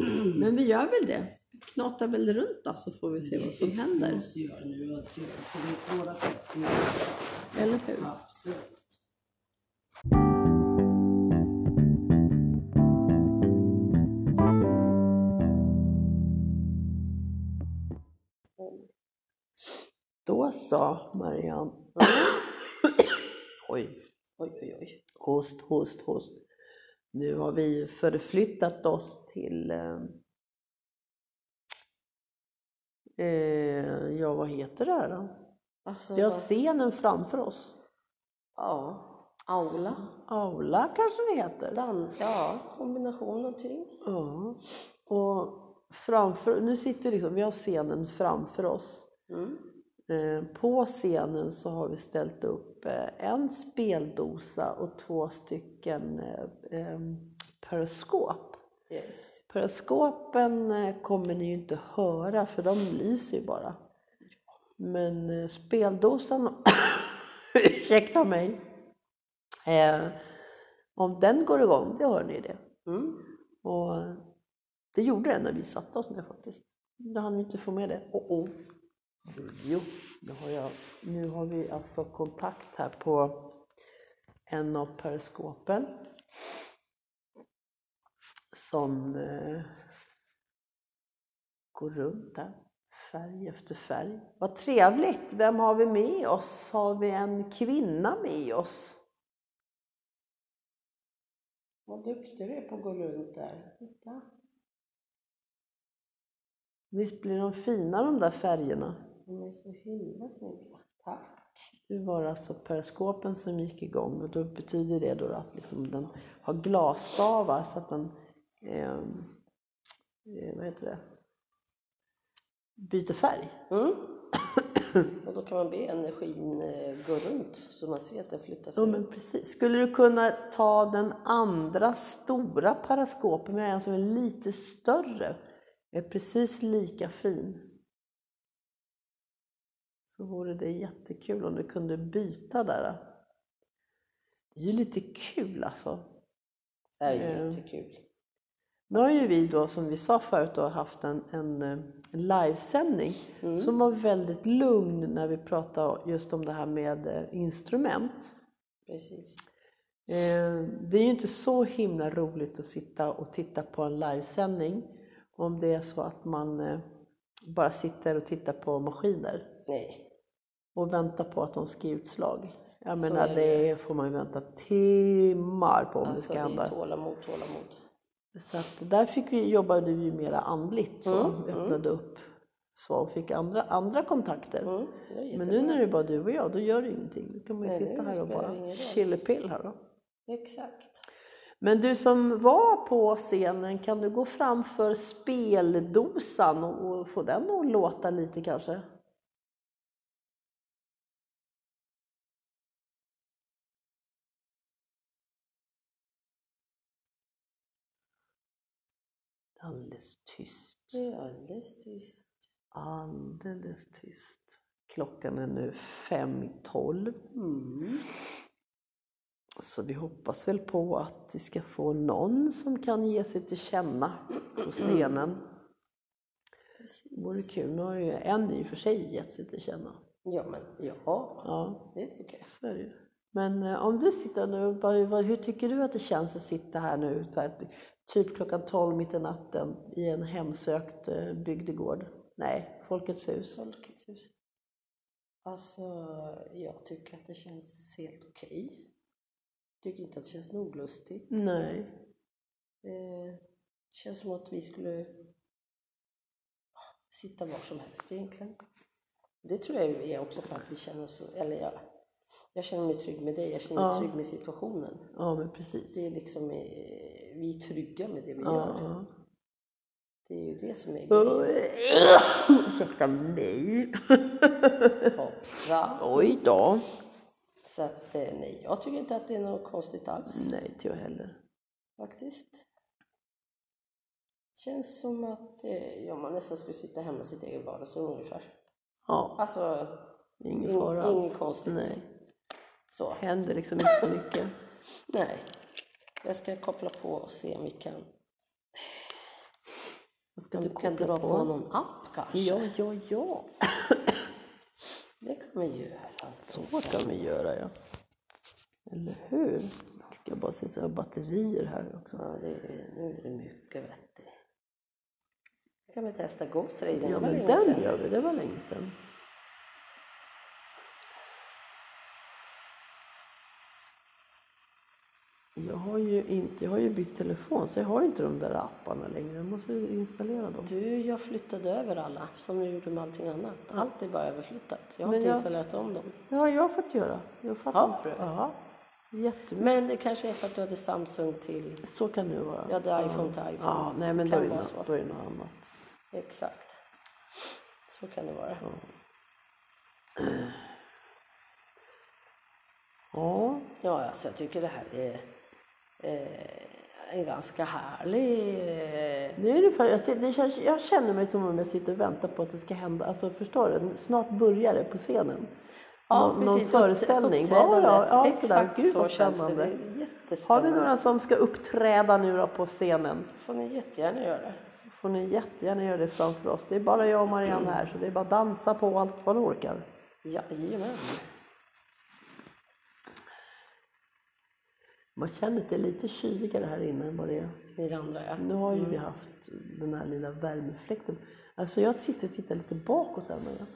Speaker 3: men vi gör väl det. Knatar väl runt då så får vi se vad som
Speaker 2: Vi
Speaker 3: händer.
Speaker 2: måste göra nu att göra på det våra tecken.
Speaker 3: Eller hur?
Speaker 2: Absolut.
Speaker 3: Då sa Marianne... oj, oj, oj, oj. Host, host, host. Nu har vi förflyttat oss till... ehm, eh, Eh, ja, vad heter det här då?
Speaker 4: Alltså,
Speaker 3: Vi har
Speaker 4: vad-
Speaker 3: scenen framför oss.
Speaker 4: ja. Aula.
Speaker 3: Aula kanske det heter?
Speaker 4: Dan, ja, kombination av ting.
Speaker 3: Ja. Och framför, nu sitter liksom, vi har scenen framför oss.
Speaker 4: Mm.
Speaker 3: Eh, På scenen så har vi ställt upp eh, en speldosa och två stycken eh, eh, periskop.
Speaker 4: Yes.
Speaker 3: Periskopen eh, kommer ni ju inte höra för de lyser ju bara. Men eh, speldosan, ursäkta mig, eh, om den går igång, det hör ni det.
Speaker 4: Mm.
Speaker 3: Och eh, det gjorde den när vi satte oss ner faktiskt. Då hann vi inte få med det. Oh, oh. Jo, nu har, jag, nu har vi alltså kontakt här på en av periskopen. Som eh, går runt där, färg efter färg. Vad trevligt! Vem har vi med oss? Har vi en kvinna med oss? Vad duktig du är på att gå runt där. Titta. Visst blir de fina de där färgerna?
Speaker 4: De är så himla snygga. Tack.
Speaker 3: Det var alltså periskopen som gick igång och då betyder det då att liksom den har glasstavar så att den eh, eh, vad heter det? byter färg.
Speaker 4: Mm. Och då kan man be energin eh, gå runt så man ser att den flyttar sig.
Speaker 3: Ja, men precis. Skulle du kunna ta den andra stora periskopen, med en som är lite större, är precis lika fin. Så vore det jättekul om du kunde byta där. Det är ju lite kul alltså.
Speaker 4: Det här är
Speaker 3: Mm.
Speaker 4: jättekul.
Speaker 3: Nu har ju vi då, som vi sa förut, då, haft en, en, eh, en livesändning
Speaker 4: Mm.
Speaker 3: som var väldigt lugn när vi pratade just om det här med eh, instrument.
Speaker 4: Precis.
Speaker 3: Eh, Det är ju inte så himla roligt att sitta och titta på en livesändning om det är så att man eh, bara sitter och tittar på maskiner
Speaker 4: Nej.
Speaker 3: och väntar på att de ska ge utslag. Jag
Speaker 4: Så
Speaker 3: menar,
Speaker 4: är det.
Speaker 3: det får man ju vänta timmar på om det
Speaker 4: Alltså det
Speaker 3: ska
Speaker 4: är
Speaker 3: hända.
Speaker 4: tålamod, tålamod.
Speaker 3: Så att där fick vi, jobbade vi ju mera andligt, så
Speaker 4: Mm,
Speaker 3: vi öppnade upp så och fick andra, andra kontakter.
Speaker 4: Mm. Det är
Speaker 3: Men
Speaker 4: jättebra.
Speaker 3: nu när det är bara du och jag, då gör det ingenting. Då kan man ju
Speaker 4: Nej,
Speaker 3: sitta
Speaker 4: nu
Speaker 3: här och
Speaker 4: spelar det
Speaker 3: bara
Speaker 4: ingen roll.
Speaker 3: chillepill här då.
Speaker 4: Exakt.
Speaker 3: Men du som var på scenen, kan du gå framför speldosan och och få den att låta lite kanske? Alldeles tyst.
Speaker 4: Det är alldeles tyst.
Speaker 3: Alldeles tyst. Klockan är nu fem i tolv.
Speaker 4: Mm.
Speaker 3: Så vi hoppas väl på att vi ska få någon som kan ge sig till känna på scenen.
Speaker 4: Precis.
Speaker 3: Det vore kul. Nu har ju en i och för sig gett sig till känna.
Speaker 4: Ja, men ja.
Speaker 3: Ja,
Speaker 4: Det tycker jag.
Speaker 3: så är det ju. Men eh, om du sitter nu, vad- vad- hur tycker du att det känns att sitta här nu? Så här, typ klockan 12 mitt i natten i en hemsökt eh, bygdegård. Nej, Folkets hus.
Speaker 2: Folkets hus. Alltså, jag tycker att det känns helt okej. Tycker inte att det känns olustigt.
Speaker 3: Nej.
Speaker 2: Det känns som att vi skulle sitta var som helst egentligen. Det tror jag är också för att vi känner oss, eller jag, jag känner mig trygg med dig, jag känner mig
Speaker 3: Ja.
Speaker 2: trygg med situationen.
Speaker 3: Ja, men precis.
Speaker 2: Det är liksom, eh, vi är trygga med det vi gör.
Speaker 3: Ja.
Speaker 2: Det är ju det som är grejen.
Speaker 3: Ursäkta mig.
Speaker 2: Hoppsa.
Speaker 3: Oj då.
Speaker 2: Så att eh, nej, jag tycker inte att det är något konstigt alls
Speaker 3: Nej, inte jag heller.
Speaker 2: faktiskt. Känns som att eh, ja, man nästan skulle sitta hemma i sitt eget vardagsrum ungefär.
Speaker 3: Ja,
Speaker 2: Alltså,
Speaker 3: ingen
Speaker 2: in-
Speaker 3: fara alls.
Speaker 2: inget konstigt.
Speaker 3: Nej,
Speaker 2: Så.
Speaker 3: händer liksom inte så mycket.
Speaker 2: Nej. Jag ska koppla på och se om vi kan,
Speaker 3: Vad ska
Speaker 2: om
Speaker 3: du
Speaker 2: vi kan
Speaker 3: koppla
Speaker 2: dra
Speaker 3: på?
Speaker 2: på, någon app kanske.
Speaker 3: Ja, ja, ja.
Speaker 2: Det kan vi ju göra. Alltså.
Speaker 3: Så ska vi göra, ja. Eller hur? Ska jag bara se så jag har batterier här också.
Speaker 2: Ja, det är, nu är det mycket vet du. Då kan vi testa Ghost Raiden. Det
Speaker 3: Ja,
Speaker 2: var
Speaker 3: men
Speaker 2: länge
Speaker 3: den
Speaker 2: sedan.
Speaker 3: gör vi. Det var länge sedan. Jag har ju inte, jag har ju bytt telefon så jag har ju inte de där apparna längre. Jag måste ju installera dem.
Speaker 2: Du, jag flyttade över alla, som jag gjorde med allting annat. Allt är bara överflyttat. Jag har
Speaker 3: Men
Speaker 2: inte
Speaker 3: jag-
Speaker 2: installerat om dem.
Speaker 3: Ja, jag har fått göra. Jag fattar
Speaker 2: Har
Speaker 3: inte.
Speaker 2: du?
Speaker 3: Ja, jättemycket.
Speaker 2: Men det kanske är för att du hade Samsung till...
Speaker 3: Så kan det vara.
Speaker 2: Jag hade iPhone till iPhone.
Speaker 3: Ja, nej men då
Speaker 2: Kan
Speaker 3: är, det,
Speaker 2: vara
Speaker 3: nå-
Speaker 2: så.
Speaker 3: då är det något annat.
Speaker 2: Exakt. Så kan det vara.
Speaker 3: Ja,
Speaker 2: Ja, alltså jag tycker det här är eh, en ganska härlig... Eh,
Speaker 3: nu är det för, jag, ser- det känns, jag känner mig som om jag sitter och väntar på att det ska hända. Alltså förstår du? Snart börjar det på scenen. Nå- någon
Speaker 2: Upp-
Speaker 3: föreställning. Ja,
Speaker 2: uppträdandet.
Speaker 3: ja, ja, sådär.
Speaker 2: Exakt
Speaker 3: Gud
Speaker 2: så
Speaker 3: vad
Speaker 2: känns det.
Speaker 3: spännande.
Speaker 2: det är
Speaker 3: Har
Speaker 2: jättespännande.
Speaker 3: vi några som ska uppträda nu då på scenen
Speaker 2: får ni jättegärna göra. det.
Speaker 3: så får ni jättegärna göra det framför oss. Det är bara jag och Marianne här så det är bara att dansa på allt vad ni orkar.
Speaker 2: Jajamän.
Speaker 3: Man känner att det är lite kyligare här inne än vad det är.
Speaker 2: Ni andra, ja.
Speaker 3: Nu har ju vi haft den här lilla värmefläkten. Alltså jag sitter och tittar lite bakåt här men jag,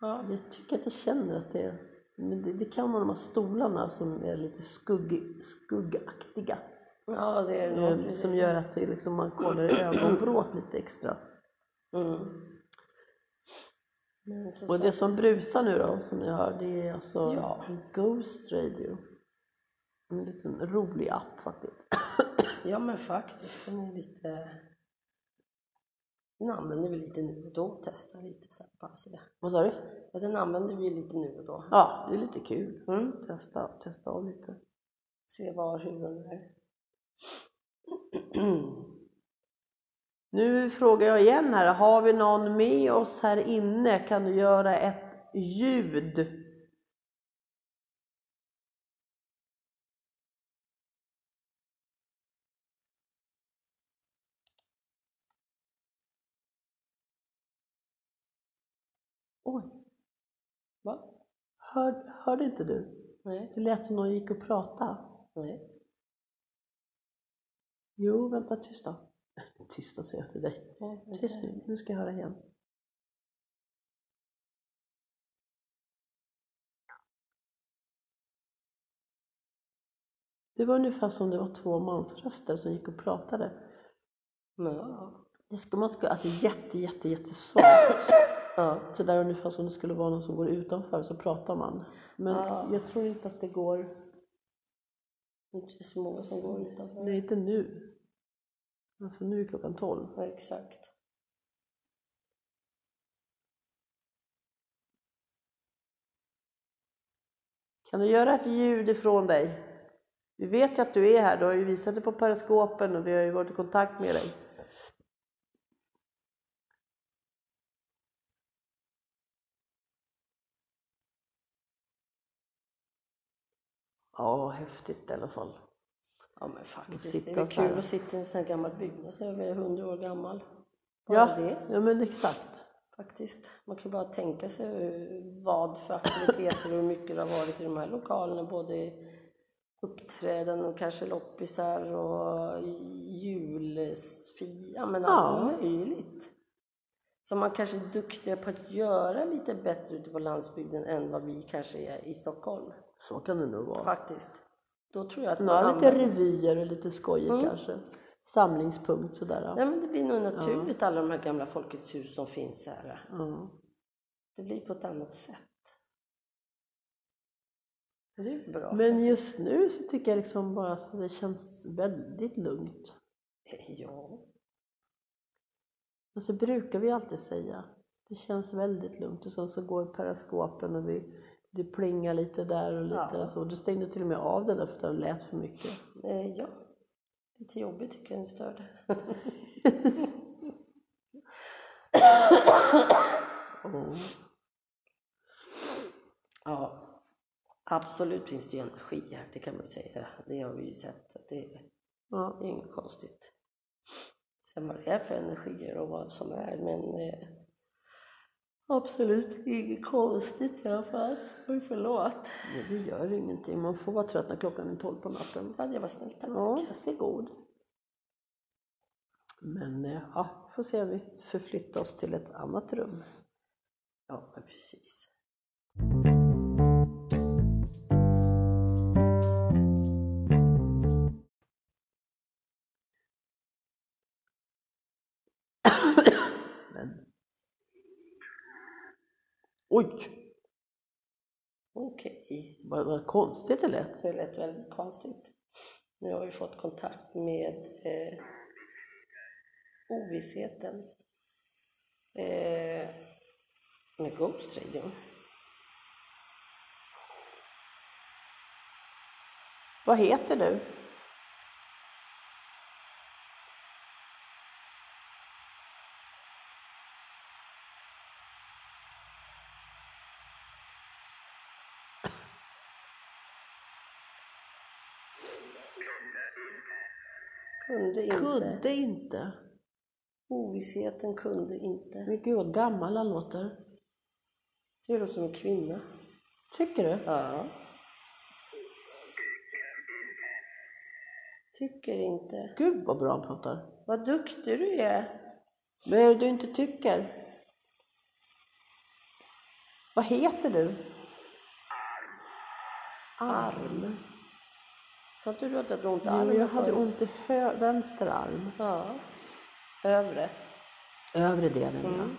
Speaker 2: Ja.
Speaker 3: jag tycker att jag känner att det är... Men det, det kan vara de här stolarna som är lite skugg, skuggaktiga.
Speaker 2: ja, det är nog.
Speaker 3: eh, Som gör att det liksom, man kollar i ögonbrået lite extra.
Speaker 2: Mm. Men så
Speaker 3: Och det som brusar nu då, som ni hör, det är alltså
Speaker 2: Ja.
Speaker 3: Ghost Radio. En liten rolig app faktiskt.
Speaker 2: Ja men faktiskt, den är lite... Den använder vi lite nu och då, testar lite så här bara se.
Speaker 3: Vad sa du?
Speaker 2: Ja, den använder vi lite nu och då.
Speaker 3: Ja, det är lite kul. Mm, Testa, testa av lite.
Speaker 2: Se var huvuden är.
Speaker 3: Nu frågar jag igen här, har vi någon med oss här inne? Kan du göra ett ljud? Oj,
Speaker 2: Va?
Speaker 3: hör, hörde inte du?
Speaker 2: Nej,
Speaker 3: Det lät som någon gick och pratade.
Speaker 2: nej.
Speaker 3: Jo, vänta, tyst då. Tyst då säger jag till dig.
Speaker 2: nej, nej.
Speaker 3: Tyst nu, nu ska jag höra igen. Det var ungefär som det var två mansröster som gick och pratade.
Speaker 2: Men, ja.
Speaker 3: Det ska man ska, alltså jätte, jätte, jättesvagt.
Speaker 2: Ja.
Speaker 3: Så där ungefär som det skulle vara någon som går utanför så pratar man. Men
Speaker 2: Ja.
Speaker 3: jag tror inte att det går,
Speaker 2: Det är inte så många som går utanför.
Speaker 3: nej inte nu. Alltså nu är klockan tolv.
Speaker 2: Ja, exakt.
Speaker 3: Kan du göra ett ljud ifrån dig? Vi vet ju att du är här, du har ju visat det på periskopen och vi har ju varit i kontakt med dig. Ja, häftigt i alla fall.
Speaker 2: Ja men faktiskt,
Speaker 3: sitta
Speaker 2: det är väl
Speaker 3: så här.
Speaker 2: kul att sitta i en sån här gammal byggnad som är över 100 år gammal. Bara
Speaker 3: Ja,
Speaker 2: det.
Speaker 3: ja, men exakt.
Speaker 2: Faktiskt. Man kan bara tänka sig hur- vad för aktiviteter och hur mycket det har varit i de här lokalerna, både uppträdanden, kanske loppisar och julfia, ja, men
Speaker 3: Ja.
Speaker 2: allt möjligt. Som man kanske är duktiga på att göra lite bättre ute på landsbygden än vad vi kanske är i Stockholm,
Speaker 3: Så kan det nog vara.
Speaker 2: faktiskt. Då tror jag att
Speaker 3: Några
Speaker 2: man
Speaker 3: lite
Speaker 2: använder-
Speaker 3: revyer och lite skojigt kanske. Samlingspunkt sådär.
Speaker 2: Nej, men det blir nog naturligt, alla de här gamla Folkets hus som finns här.
Speaker 3: Ja.
Speaker 2: Det blir på ett annat sätt. Och Det är bra.
Speaker 3: Men just nu så tycker jag liksom bara att det känns väldigt lugnt.
Speaker 2: Ja.
Speaker 3: Och så brukar vi alltid säga, det känns väldigt lugnt. Och sen så går periskopen och vi, det plingar lite där och lite
Speaker 2: Ja.
Speaker 3: så. Du stängde till och med av den där för att den lät för mycket.
Speaker 2: Eh, ja. Lite jobbigt tycker jag den störde.
Speaker 3: Och,
Speaker 2: Ja. Absolut finns det ju energi här, det kan man ju säga. Det har vi ju sett. att Det är,
Speaker 3: ja.
Speaker 2: det är inget konstigt. Sen vad det är för energier och vad som är, men eh, absolut inget konstigt i alla fall. Oj, förlåt.
Speaker 3: men Det gör ingenting, man får vara trött när klockan är tolv på natten.
Speaker 2: Ja, det var snällt. Tack.
Speaker 3: Ja, varsågod. Men eh, ja, får se om vi förflyttar oss till ett annat rum.
Speaker 2: Ja, men precis.
Speaker 3: Oj,
Speaker 2: Okej.
Speaker 3: vad, vad konstigt det lät.
Speaker 2: Det lät väldigt konstigt. Nu har vi fått kontakt med eh, ovissheten. Eh, med Ghost Radio.
Speaker 3: Vad heter du?
Speaker 2: Kunde inte.
Speaker 3: Kunde inte.
Speaker 2: Ovissheten kunde inte.
Speaker 3: Men gud vad gammal han låter.
Speaker 2: Det låter som en kvinna.
Speaker 3: Tycker du?
Speaker 2: Ja. Tycker inte.
Speaker 3: Gud vad bra han pratar.
Speaker 2: Vad duktig du är.
Speaker 3: Vad är det du inte tycker? Vad heter du? Arm.
Speaker 2: Sa inte du att du hade ont i
Speaker 3: Jo,
Speaker 2: armen
Speaker 3: jag hade
Speaker 2: förut?
Speaker 3: ont i hö- vänster arm.
Speaker 2: Ja. Övre.
Speaker 3: Övre delen, ja.
Speaker 2: Mm.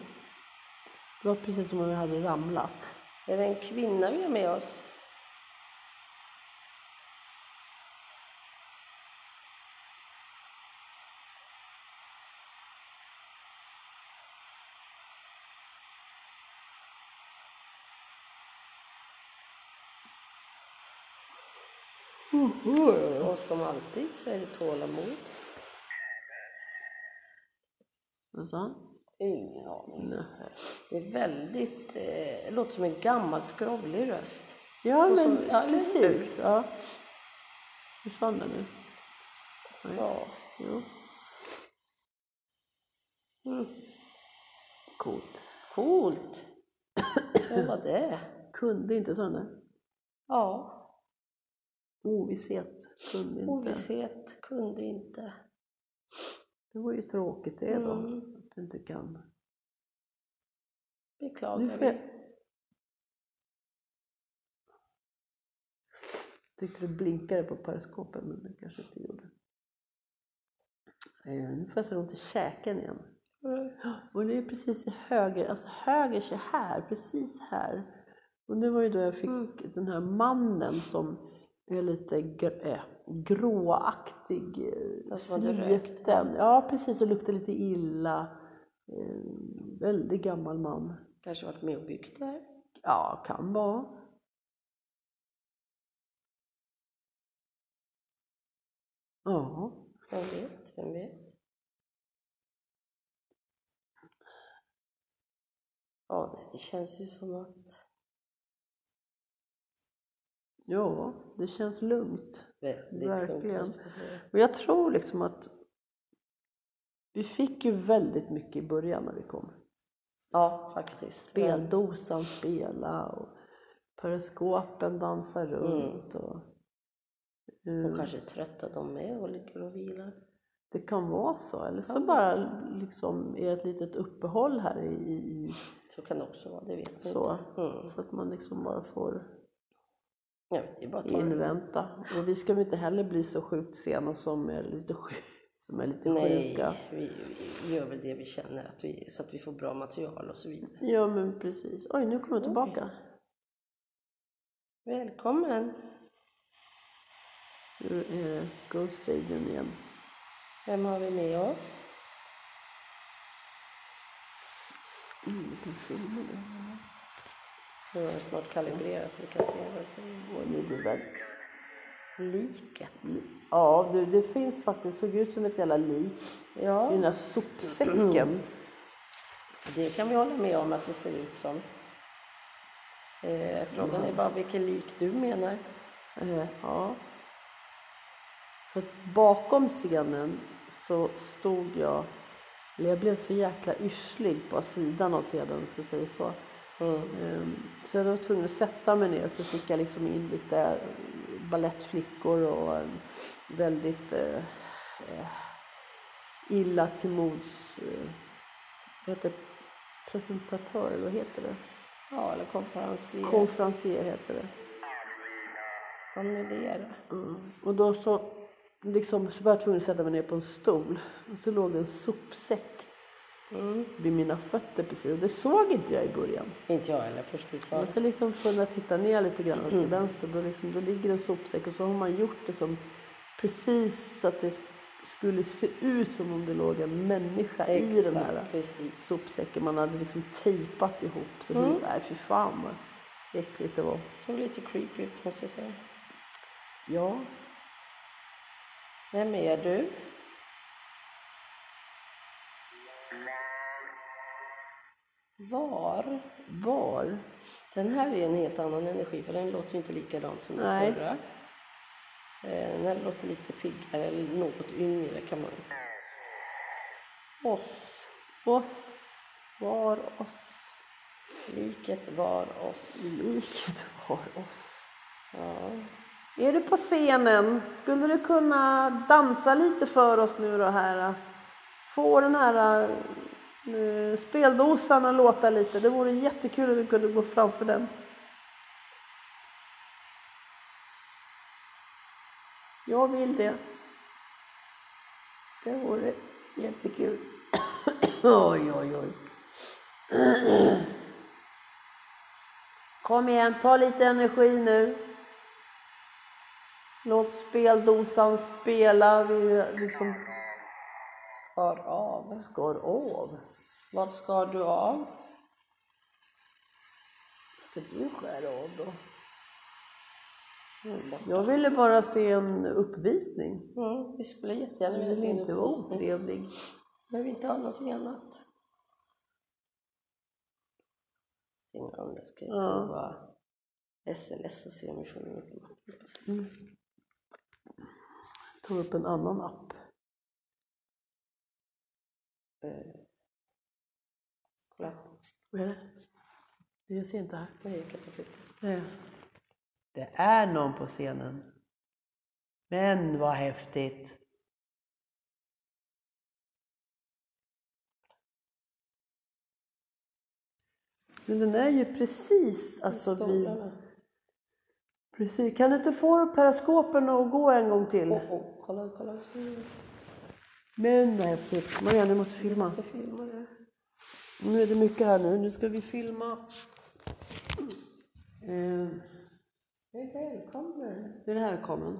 Speaker 3: Det var precis som om jag hade ramlat.
Speaker 2: Är det en kvinna vi har med oss?
Speaker 3: Mm.
Speaker 2: Och som alltid så är det tålamod.
Speaker 3: Vad sa han?
Speaker 2: Ingen aning. Det är väldigt, eh, det låter som en gammal skrovlig röst.
Speaker 3: Ja,
Speaker 2: Så
Speaker 3: men
Speaker 2: som- ja, eller hur?
Speaker 3: precis. Ja. Försvann den nu? Nej.
Speaker 2: Ja.
Speaker 3: Jo. Mm. Coolt.
Speaker 2: Coolt! Vad var det?
Speaker 3: Kunde inte, sa den där.
Speaker 2: Ja,
Speaker 3: Ovisshet. Kunde inte.
Speaker 2: ovisshet, kunde inte.
Speaker 3: Det var ju tråkigt det då.
Speaker 2: Mm.
Speaker 3: Att du inte kan. Nu
Speaker 2: Beklagar
Speaker 3: får jag...
Speaker 2: vi.
Speaker 3: Tyckte du blinkade på periskopen, men det kanske inte gjorde. Eh, Nu får jag så ont i käken igen. Och det är precis i höger, alltså höger sig här, precis här. Och det var ju då jag fick
Speaker 2: Mm.
Speaker 3: den här mannen som är lite gr- eh, gråaktig, eh,
Speaker 2: Alltså, var det
Speaker 3: sliten. Ja, precis, och luktar lite illa. Eh, väldigt gammal man.
Speaker 2: Kanske varit med och byggt det här.
Speaker 3: Ja, kan vara. Ja,
Speaker 2: Vem vet, vem vet? Ja, nej, det känns ju som att
Speaker 3: ja, det känns lugnt.
Speaker 2: väldigt
Speaker 3: Verkligen.
Speaker 2: lugnt, måste jag säga.
Speaker 3: Och jag tror liksom att vi fick ju väldigt mycket i början när vi kom.
Speaker 2: Ja, faktiskt. Men
Speaker 3: Speldosan spela och periskopen dansa runt. Och
Speaker 2: De Mm. kanske är trötta de med och ligger och vilar.
Speaker 3: Det kan vara så, eller så bara liksom är ett litet uppehåll här i, i
Speaker 2: Så kan det också vara, det vet jag
Speaker 3: så.
Speaker 2: inte. Mm.
Speaker 3: Så att man liksom bara får
Speaker 2: Ja, men det är bara att ta det.
Speaker 3: invänta. Och vi ska väl inte heller bli så sjukt sena som är lite, sj- som är lite sjuka.
Speaker 2: Nej, vi, vi gör väl det vi känner att vi, så att vi får bra material och så vidare.
Speaker 3: Ja men precis. Oj, nu kommer jag tillbaka.
Speaker 2: Välkommen!
Speaker 3: Nu är det Ghost Radion igen.
Speaker 2: Vem har vi med oss? Mm, Nu har den snart kalibrerat så vi kan se vad det säger.
Speaker 3: Och nu blir det
Speaker 2: Liket.
Speaker 3: Ja, du, det finns faktiskt. såg ut som ett jävla lik i den
Speaker 2: Ja,
Speaker 3: där sopsäcken.
Speaker 2: det kan vi hålla med om att det ser ut som. Eh, frågan är bara vilket lik du menar.
Speaker 3: Eh, Ja. För att bakom scenen så stod jag, eller jag blev så jäkla yrslig på sidan av scenen, så jag säger så.
Speaker 2: Mm.
Speaker 3: Ehm, Så jag var tvungen att sätta mig ner så fick jag liksom in lite ballettflickor och eh, väldigt eh, eh, illa till mods, eh, vad heter det? presentatör, eller vad heter det?
Speaker 2: Ja, eller konferencier.
Speaker 3: Konferencier heter det.
Speaker 2: Annulera.
Speaker 3: Och då så, liksom, så var jag tvungen att sätta mig ner på en stol. Och så låg en sopsäck vid mina fötter precis. Och det såg inte jag i början.
Speaker 2: Inte jag heller först
Speaker 3: Man
Speaker 2: fortfarande.
Speaker 3: ska liksom kunna titta ner lite grann åt till vänster. Då, liksom, då ligger en sopsäck och så har man gjort det som precis så att det skulle se ut som om det låg en människa i den här
Speaker 2: Exakt, precis.
Speaker 3: sopsäcken. Man hade liksom tejpat ihop. Så det, nej, fy fan vad äckligt det var.
Speaker 2: Såg lite creepy ut måste jag säga.
Speaker 3: Ja,
Speaker 2: Vem är du? Var?
Speaker 3: var?
Speaker 2: Den här är en helt annan energi för den låter ju inte likadan som den
Speaker 3: Nej.
Speaker 2: förra. Eh, Den här låter lite piggare eller något yngre kan man Oss.
Speaker 3: Oss, var oss.
Speaker 2: Liket var oss.
Speaker 3: Liket var oss. Är du på scenen? Skulle du kunna dansa lite för oss nu då här? Få den här eh, speldosan att låta lite. Det vore jättekul om du kunde gå framför den. Jag vill det. Det vore jättekul. oj, oj, oj. Kom igen, ta lite energi nu. Låt speldosan spela. Vi liksom
Speaker 2: Skar av.
Speaker 3: skar av.
Speaker 2: Vad skar du av?
Speaker 3: Ska du skära av då?
Speaker 2: Mm, bort.
Speaker 3: Jag ville bara se en uppvisning.
Speaker 2: Mm, vi skulle jättegärna
Speaker 3: Jag
Speaker 2: vilja
Speaker 3: ville
Speaker 2: se en
Speaker 3: inte vara
Speaker 2: uppvisning.
Speaker 3: otrevlig.
Speaker 2: Men vi inte har någonting annat. Stänger om det. Ska jag
Speaker 3: Ja.
Speaker 2: prova sms och se om vi får något annat.
Speaker 3: Mm. Ta upp en annan app.
Speaker 2: Kolla.
Speaker 3: Vad är det? Det ser inte här.
Speaker 2: Nej, jag kan inte flytta.
Speaker 3: Det är någon på scenen. Men vad häftigt. Men den är ju precis alltså vid...
Speaker 2: Stolarna.
Speaker 3: Precis. Kan du inte få upp periskopen och gå en gång till?
Speaker 2: Åh, åh, kolla, kolla.
Speaker 3: Men vad häftigt. Maria, du måste filma.
Speaker 2: Jag filmar det.
Speaker 3: Nu är det mycket här nu. Nu ska vi filma. Eh,
Speaker 2: Mm. Hej, välkommen.
Speaker 3: är det här kameran?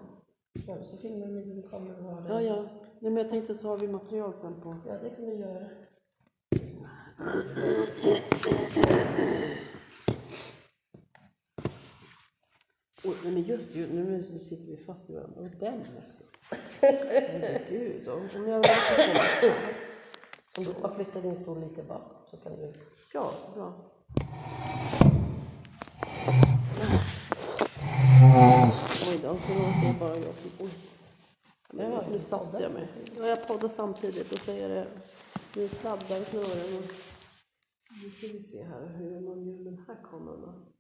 Speaker 2: Ja, så filmar vi din kamera.
Speaker 3: Ja, ja. Nej, men jag tänkte så har vi material sen på...
Speaker 2: Ja, det kan vi göra.
Speaker 3: Oj, nej men just ju, nu nu sitter vi fast i varandra. Och den också. Herregud. om- Om jag
Speaker 2: Om du bara flyttar din stol lite bakåt så kan du...
Speaker 3: Ja, bra. Oj då, så låter jag bara jag Oj. Men nu satte jag mig. Ja, jag poddar samtidigt och så är det... Nu sladdar snören och... Nu ska vi se här, hur man gör med den här kameran då.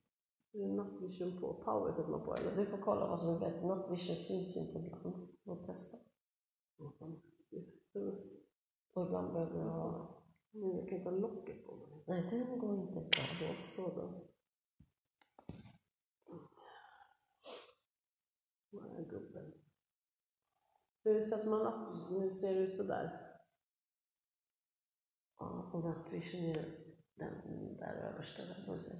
Speaker 3: Nattvision på power sätter man på eller? Vi får kolla vad som är bättre. Nattvision syns ju inte ibland. Man testar. Och ibland behöver jag ha... Men jag kan inte ha locket på mig. Nej, det går inte bra då. Så då. Var är gubben?
Speaker 2: Hur sätter man upp? Nu ser det ut sådär.
Speaker 3: Ja, och nattvision är ju den där översta. Där får vi se.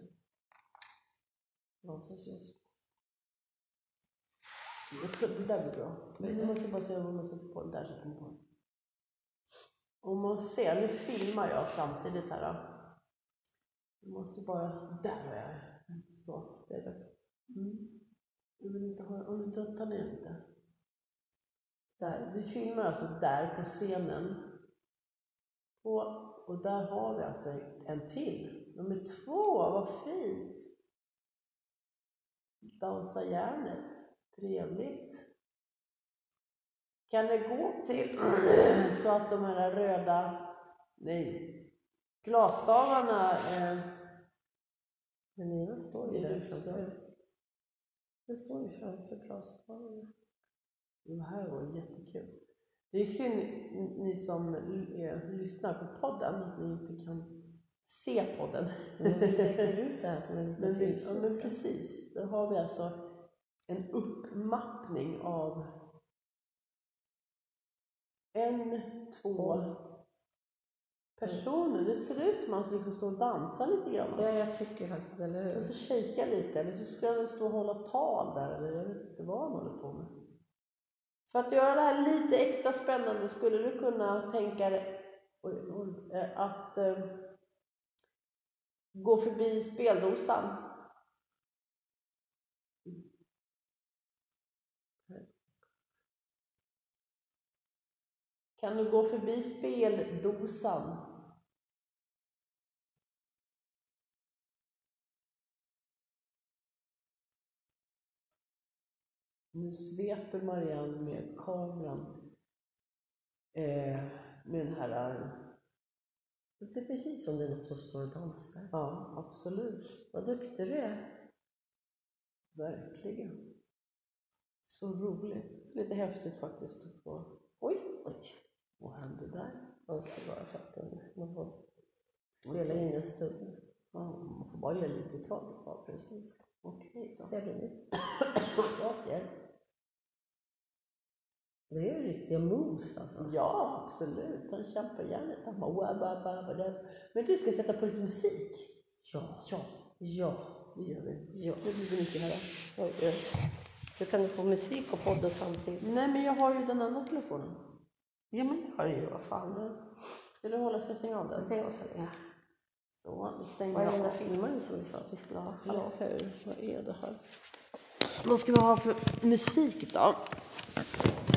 Speaker 3: Vad som syns. Det där blir bra. Men
Speaker 2: Mm.
Speaker 3: nu måste jag bara se vad man sätter på. Det där sätter man på.
Speaker 2: Om man ser, nu filmar jag samtidigt här då. Jag måste bara, där har jag Så, ser du. Mm. Du vill inte ha, om du inte tar ner lite. Där, vi filmar alltså där på scenen. På, och där har vi alltså en till. Nummer två, vad fint! Dansa järnet, trevligt. Kan det gå till så att de här röda, nej, glasstavarna, eh,
Speaker 3: Men Nina står ju
Speaker 2: Det är
Speaker 3: där
Speaker 2: du som
Speaker 3: framför. Den står ju framför glasdörren.
Speaker 2: det här var jättekul. Det är synd ni- ni som eh, lyssnar på podden att ni inte kan se podden.
Speaker 3: Men vi täcker ut det här som en
Speaker 2: Men,
Speaker 3: liten
Speaker 2: vi, ja, men
Speaker 3: filmstuga.
Speaker 2: precis, då har vi alltså en uppmappning av en, två personer. Det ser ut som att man liksom står och dansar lite grann.
Speaker 3: Ja, jag tycker faktiskt, eller hur?
Speaker 2: Eller så shakea lite, eller så ska jag väl stå och hålla tal där, eller jag vet inte vad han håller på med. För att göra det här lite extra spännande, skulle du kunna tänka dig oj, oj, eh, att eh, gå förbi speldosan? Kan du gå förbi speldosan? Nu sveper Marianne med kameran. Eh, med den här... eh,
Speaker 3: Det ser precis som det är någon som står och dansar.
Speaker 2: Ja, absolut.
Speaker 3: Vad duktig du är.
Speaker 2: Verkligen. Så roligt. Lite häftigt faktiskt att få... Oj, oj. Vad hände där?
Speaker 3: Man ska bara fatta. Man får spela in en stund.
Speaker 2: Ja, man får bara göra lite i taget.
Speaker 3: Ja, precis.
Speaker 2: Okej då.
Speaker 3: Ser du nu? jag ser. Det är ju riktiga moves alltså.
Speaker 2: Ja, absolut. Han kämpar gärna. Han bara, "Wa, ba, ba, ba, da." Men du ska sätta på lite musik.
Speaker 3: Ja.
Speaker 2: Ja,
Speaker 3: Ja.
Speaker 2: det gör vi.
Speaker 3: Ja.
Speaker 2: Nu blir det mycket här.
Speaker 3: Oj, oj. Hur kan du få musik och podden samtidigt?
Speaker 2: Nej, men jag har ju den andra telefonen.
Speaker 3: Ja, men det har du ju. Vad fan.
Speaker 2: Ska du hålla? Ska jag stänga av den?
Speaker 3: Jag ser oss här.
Speaker 2: Så, nu stänger
Speaker 3: Vad är
Speaker 2: jag
Speaker 3: den där
Speaker 2: av.
Speaker 3: filmen som vi sa att vi skulle ha? Hallå, hur? Vad är det här?
Speaker 2: Vad ska vi ha för musik då?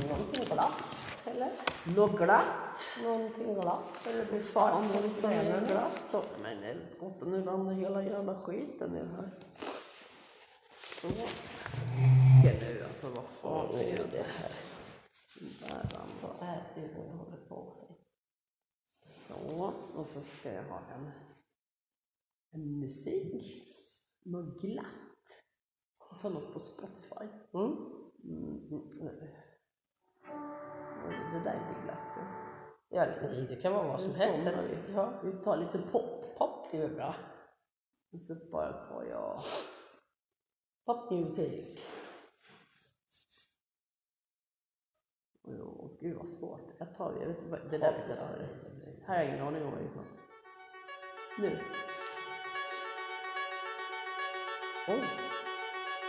Speaker 3: Någonting glatt, eller?
Speaker 2: Något glatt.
Speaker 3: Någonting glatt, eller blir
Speaker 2: Fan,
Speaker 3: farsan
Speaker 2: det är så jävla
Speaker 3: glatt?
Speaker 2: glatt då. Men helvete, nu ramlar hela jävla skiten ner här. Så. Vilken nu alltså, vad fan är det här? Där ramlar.
Speaker 3: Det här är ju vad jag håller på att säga.
Speaker 2: Så, och så ska jag ha en, en musik. Något glatt. Jag tar något på Spotify. Mm. Mm, nej. Oj, Det där är inte glatt. då.
Speaker 3: Ja, nej, det kan vara vad som
Speaker 2: Nu
Speaker 3: helst.
Speaker 2: somnar vi.
Speaker 3: Ja,
Speaker 2: Vi tar lite pop.
Speaker 3: pop blir väl bra.
Speaker 2: Och så bara tar jag popmusik. Åh, gud vad svårt. Jag tar, jag vet inte vad, det där vet jag inte. Här har jag ingen aning om vad det är för något. Nu. Oj.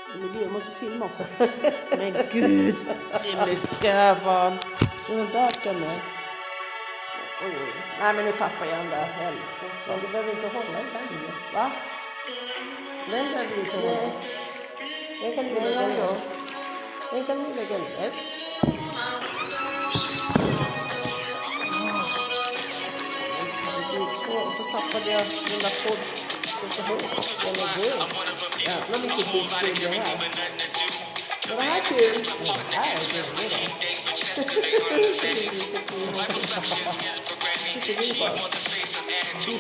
Speaker 2: Men gud, jag måste filma också. Men gud, det är mycket här fan. Och den där ska med. Oj, oj. Nej, men nu tappar jag den där. Helvete.
Speaker 3: Men du behöver inte hålla i den.
Speaker 2: Va?
Speaker 3: Den behöver du inte hålla. Den kan du lägga ner. Den kan du lägga ner.
Speaker 2: Och så tappade jag mina podd. Eller hur? Jävla mycket tid till det här. Var det här kul? Ja, det här är kul. det är det. Tycker vi bara. Disco.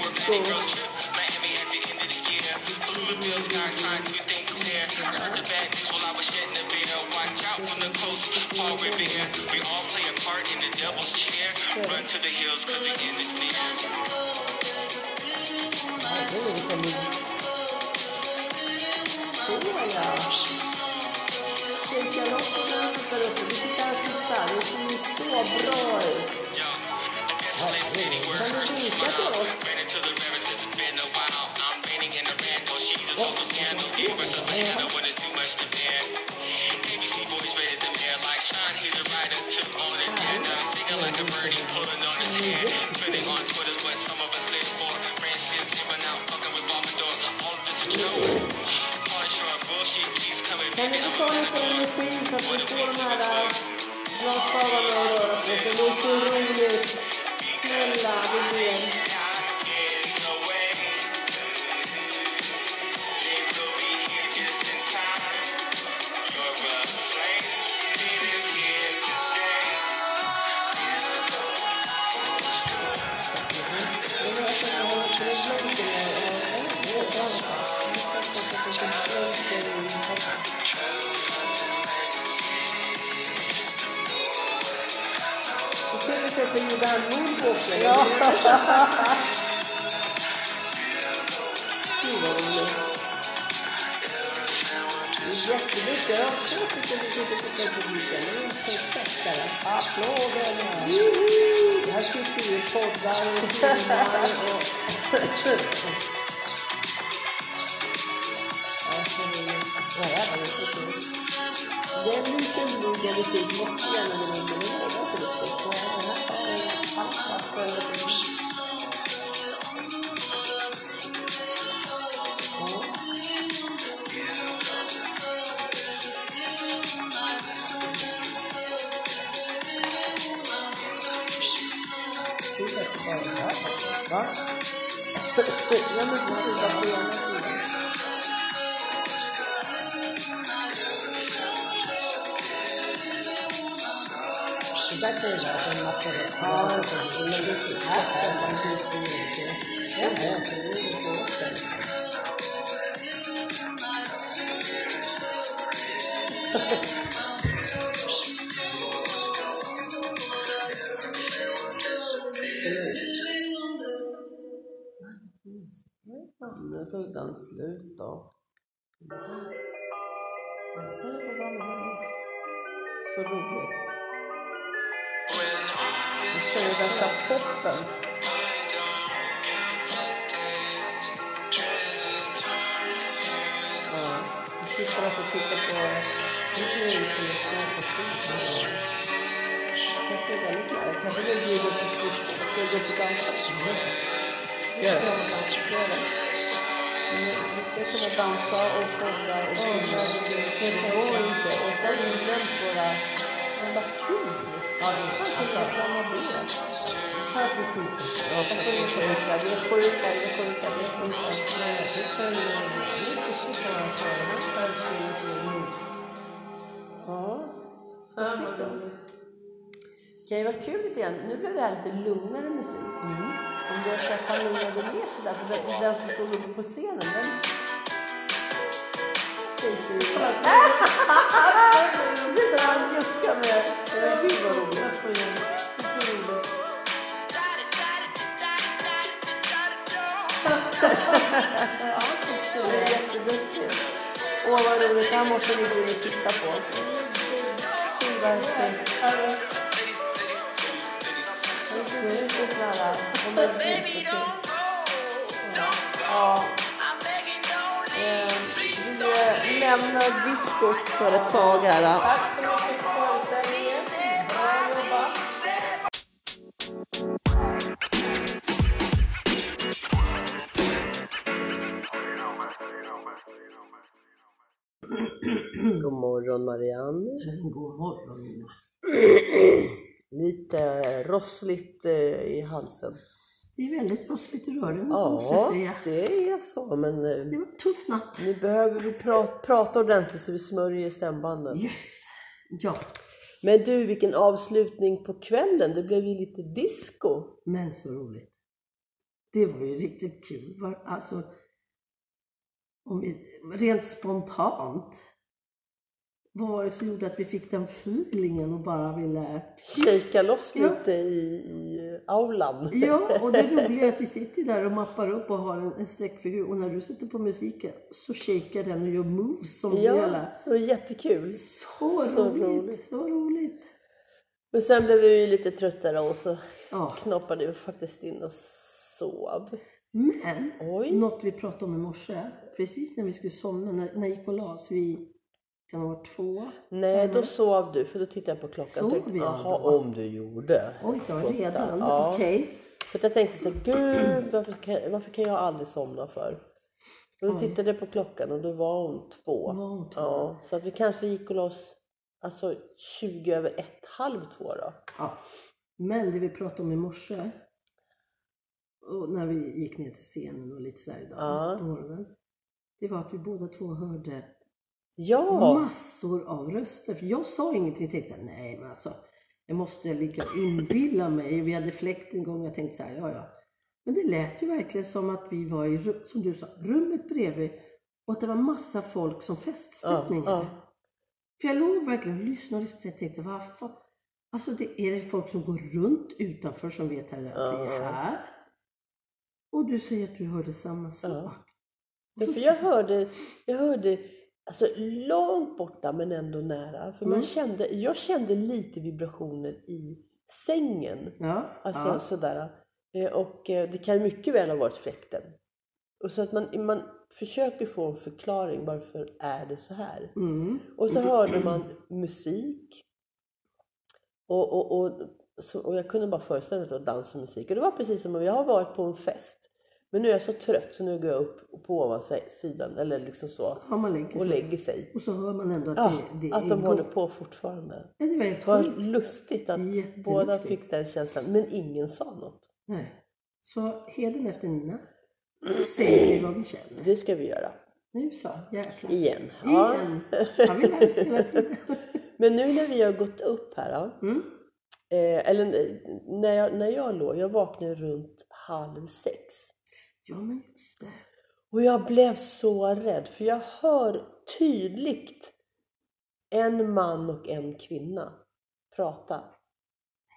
Speaker 5: The bags while I was shedding the beer. Watch out from the coast, Paul Revere. We all play a part in the devil's chair. Run to the hills, cause the end is near. Yo, a desolate city where curses smile. Ran into the river since it's been a while. I'm raining in a vandal. She's a super scandal. Gave herself a handle when it's too much to bear. ABC boys rated the mayor like Sean. He's a rider. Took on a tender. Singing like a birdie, pulling on his hair. Trending on Twitter's what some of us live for. Ran since giving out, fucking with Bombador. All of this is joke. Hard short bullshit keeps coming. Baby, I'm a What a week of a toy.
Speaker 3: Nu tog den slut då. Nu kan det gå bra med henne. Så roligt. Nu kör vi värsta poppen. Ja, nu sitter alltså och tittar på... Nu kan jag ju kunna snart på skiten. Kanske är väldigt nära. Kanske det bjuder på skiten. Det går så dansar. Gör det. Gör det. Vi ska kunna dansa och podda och sjunga. Det går inte. Och så har vi glömt våra statyer. Ja, det är sant. Här på sjukhuset. Jag får ju sjuka, vi är sjuka, vi är sjuka, vi är sjuka. Vi följer med. Ja. Okej, vad kul lite grann. Nu blev det här lite lugnare musik. Om du har sett han lugnade ner sig där, för den, den som stod uppe på scenen, den... Shake it. Precis som han juckade med... med- Gud vad roligt. Det var roligt. Det är jätteduktigt. Åh, vad roligt. Det här måste vi gå in och titta på. Gud, vad häftigt. Det är lite sådär... om det är
Speaker 5: Baby,
Speaker 3: lite
Speaker 5: don't
Speaker 3: kul.
Speaker 5: go, don't go.
Speaker 3: Ja.
Speaker 5: I'm begging, don't leave.
Speaker 3: Eh, Vi eh, lämnar diskot för ett tag här. eh. Mm, God morgon Marianne.
Speaker 2: God morgon Nina.
Speaker 3: Lite rossligt eh, i halsen.
Speaker 2: Det är väldigt rossligt i rören måste jag
Speaker 3: Ja,
Speaker 2: säga.
Speaker 3: det är så. Men eh,
Speaker 2: Det var en tuff natt.
Speaker 3: nu behöver vi pra- prata ordentligt så vi smörjer stämbanden.
Speaker 2: Yes. Ja,
Speaker 3: Men du, vilken avslutning på kvällen. Det blev ju lite disco.
Speaker 2: men så roligt. Det var ju riktigt kul. Var, alltså, Om vi, rent spontant. Vad var det som gjorde att vi fick den feelingen och bara ville...
Speaker 3: Shakea loss
Speaker 2: Ja.
Speaker 3: lite i, i aulan.
Speaker 2: Ja, och det roliga är att vi sitter där och mappar upp och har en, en streckfigur och när du sätter på musiken så shakar den och gör moves som du
Speaker 3: Ja,
Speaker 2: gör.
Speaker 3: det var jättekul.
Speaker 2: Så,
Speaker 3: Så
Speaker 2: roligt,
Speaker 3: roligt.
Speaker 2: Så roligt!
Speaker 3: Men sen blev vi ju lite tröttare och så
Speaker 2: Ja,
Speaker 3: knoppade vi faktiskt in och sov. Mm.
Speaker 2: men
Speaker 3: Oj,
Speaker 2: något vi pratade om i morse, precis när vi skulle somna, när, när jag gick och la oss, vi kan ha varit två.
Speaker 3: nej då sov du för då tittade jag på klockan
Speaker 2: Mm. Sov
Speaker 3: och tänkte
Speaker 2: jag
Speaker 3: jaha
Speaker 2: då?"
Speaker 3: om du gjorde.
Speaker 2: Oj då, redan?
Speaker 3: Ja.
Speaker 2: Okej.
Speaker 3: För att jag tänkte så här, gud varför, ska, varför kan jag aldrig somna för? Och då tittade jag på klockan och då var hon två.
Speaker 2: Var hon två?
Speaker 3: Ja, så att vi kanske gick och la oss alltså 20 över ett, halv två då.
Speaker 2: Ja. Men det vi pratade om i morse, och när vi gick ner till scenen och lite sådär idag
Speaker 3: Ja.
Speaker 2: på morgonen, det var att vi båda två hörde
Speaker 3: Ja,
Speaker 2: massor av röster. För jag sa ingenting, jag tänkte såhär, nej men alltså, jag måste ligga och inbilla mig. Vi hade fläkt en gång och jag tänkte såhär, ja ja. Men det lät ju verkligen som att vi var i, ru- som du sa, rummet bredvid och att det var massa folk som feststämningar.
Speaker 3: Ja, ja.
Speaker 2: För jag låg verkligen och lyssnade och jag tänkte, varför? Alltså det är det folk som går runt utanför som vet här, att vi är
Speaker 3: Ja.
Speaker 2: här. Och du säger att du hörde samma sak.
Speaker 3: Ja, för jag hörde, jag hörde alltså, långt borta men ändå nära. För man
Speaker 2: Mm.
Speaker 3: kände, jag kände lite vibrationer i sängen.
Speaker 2: Ja,
Speaker 3: Alltså
Speaker 2: ja.
Speaker 3: sådär. Eh, Och eh, det kan mycket väl ha varit fläkten. Och så att man, man försöker få en förklaring varför är det så här.
Speaker 2: Mm.
Speaker 3: Och så hörde man musik. Och, och, och, så, och jag kunde bara föreställa mig att det var dans och musik. Och det var precis som om jag har varit på en fest. Men nu är jag så trött så nu går jag upp på ovansidan eller liksom så.
Speaker 2: Ja, man lägger
Speaker 3: Och
Speaker 2: sig.
Speaker 3: lägger sig.
Speaker 2: Och så hör man ändå att
Speaker 3: Ja,
Speaker 2: det, det
Speaker 3: att
Speaker 2: är
Speaker 3: de håller
Speaker 2: gott.
Speaker 3: på fortfarande.
Speaker 2: Ja, det var helt
Speaker 3: Vad
Speaker 2: sjukt.
Speaker 3: lustigt att
Speaker 2: Jättelustigt.
Speaker 3: båda fick den känslan. Men ingen sa något.
Speaker 2: Nej. Så heden efter Nina. Så säger vi vad vi känner.
Speaker 3: Det ska vi göra.
Speaker 2: Nu så, jäklar.
Speaker 3: Igen. Ja.
Speaker 2: Igen. Ja, Mm. vi lär oss hela tiden.
Speaker 3: Men nu när vi har gått upp här då.
Speaker 2: Mm.
Speaker 3: Eh, eller eh, när jag, när jag låg, jag vaknade runt halv sex.
Speaker 2: Ja, men just det.
Speaker 3: Och jag blev så rädd för jag hör tydligt en man och en kvinna prata.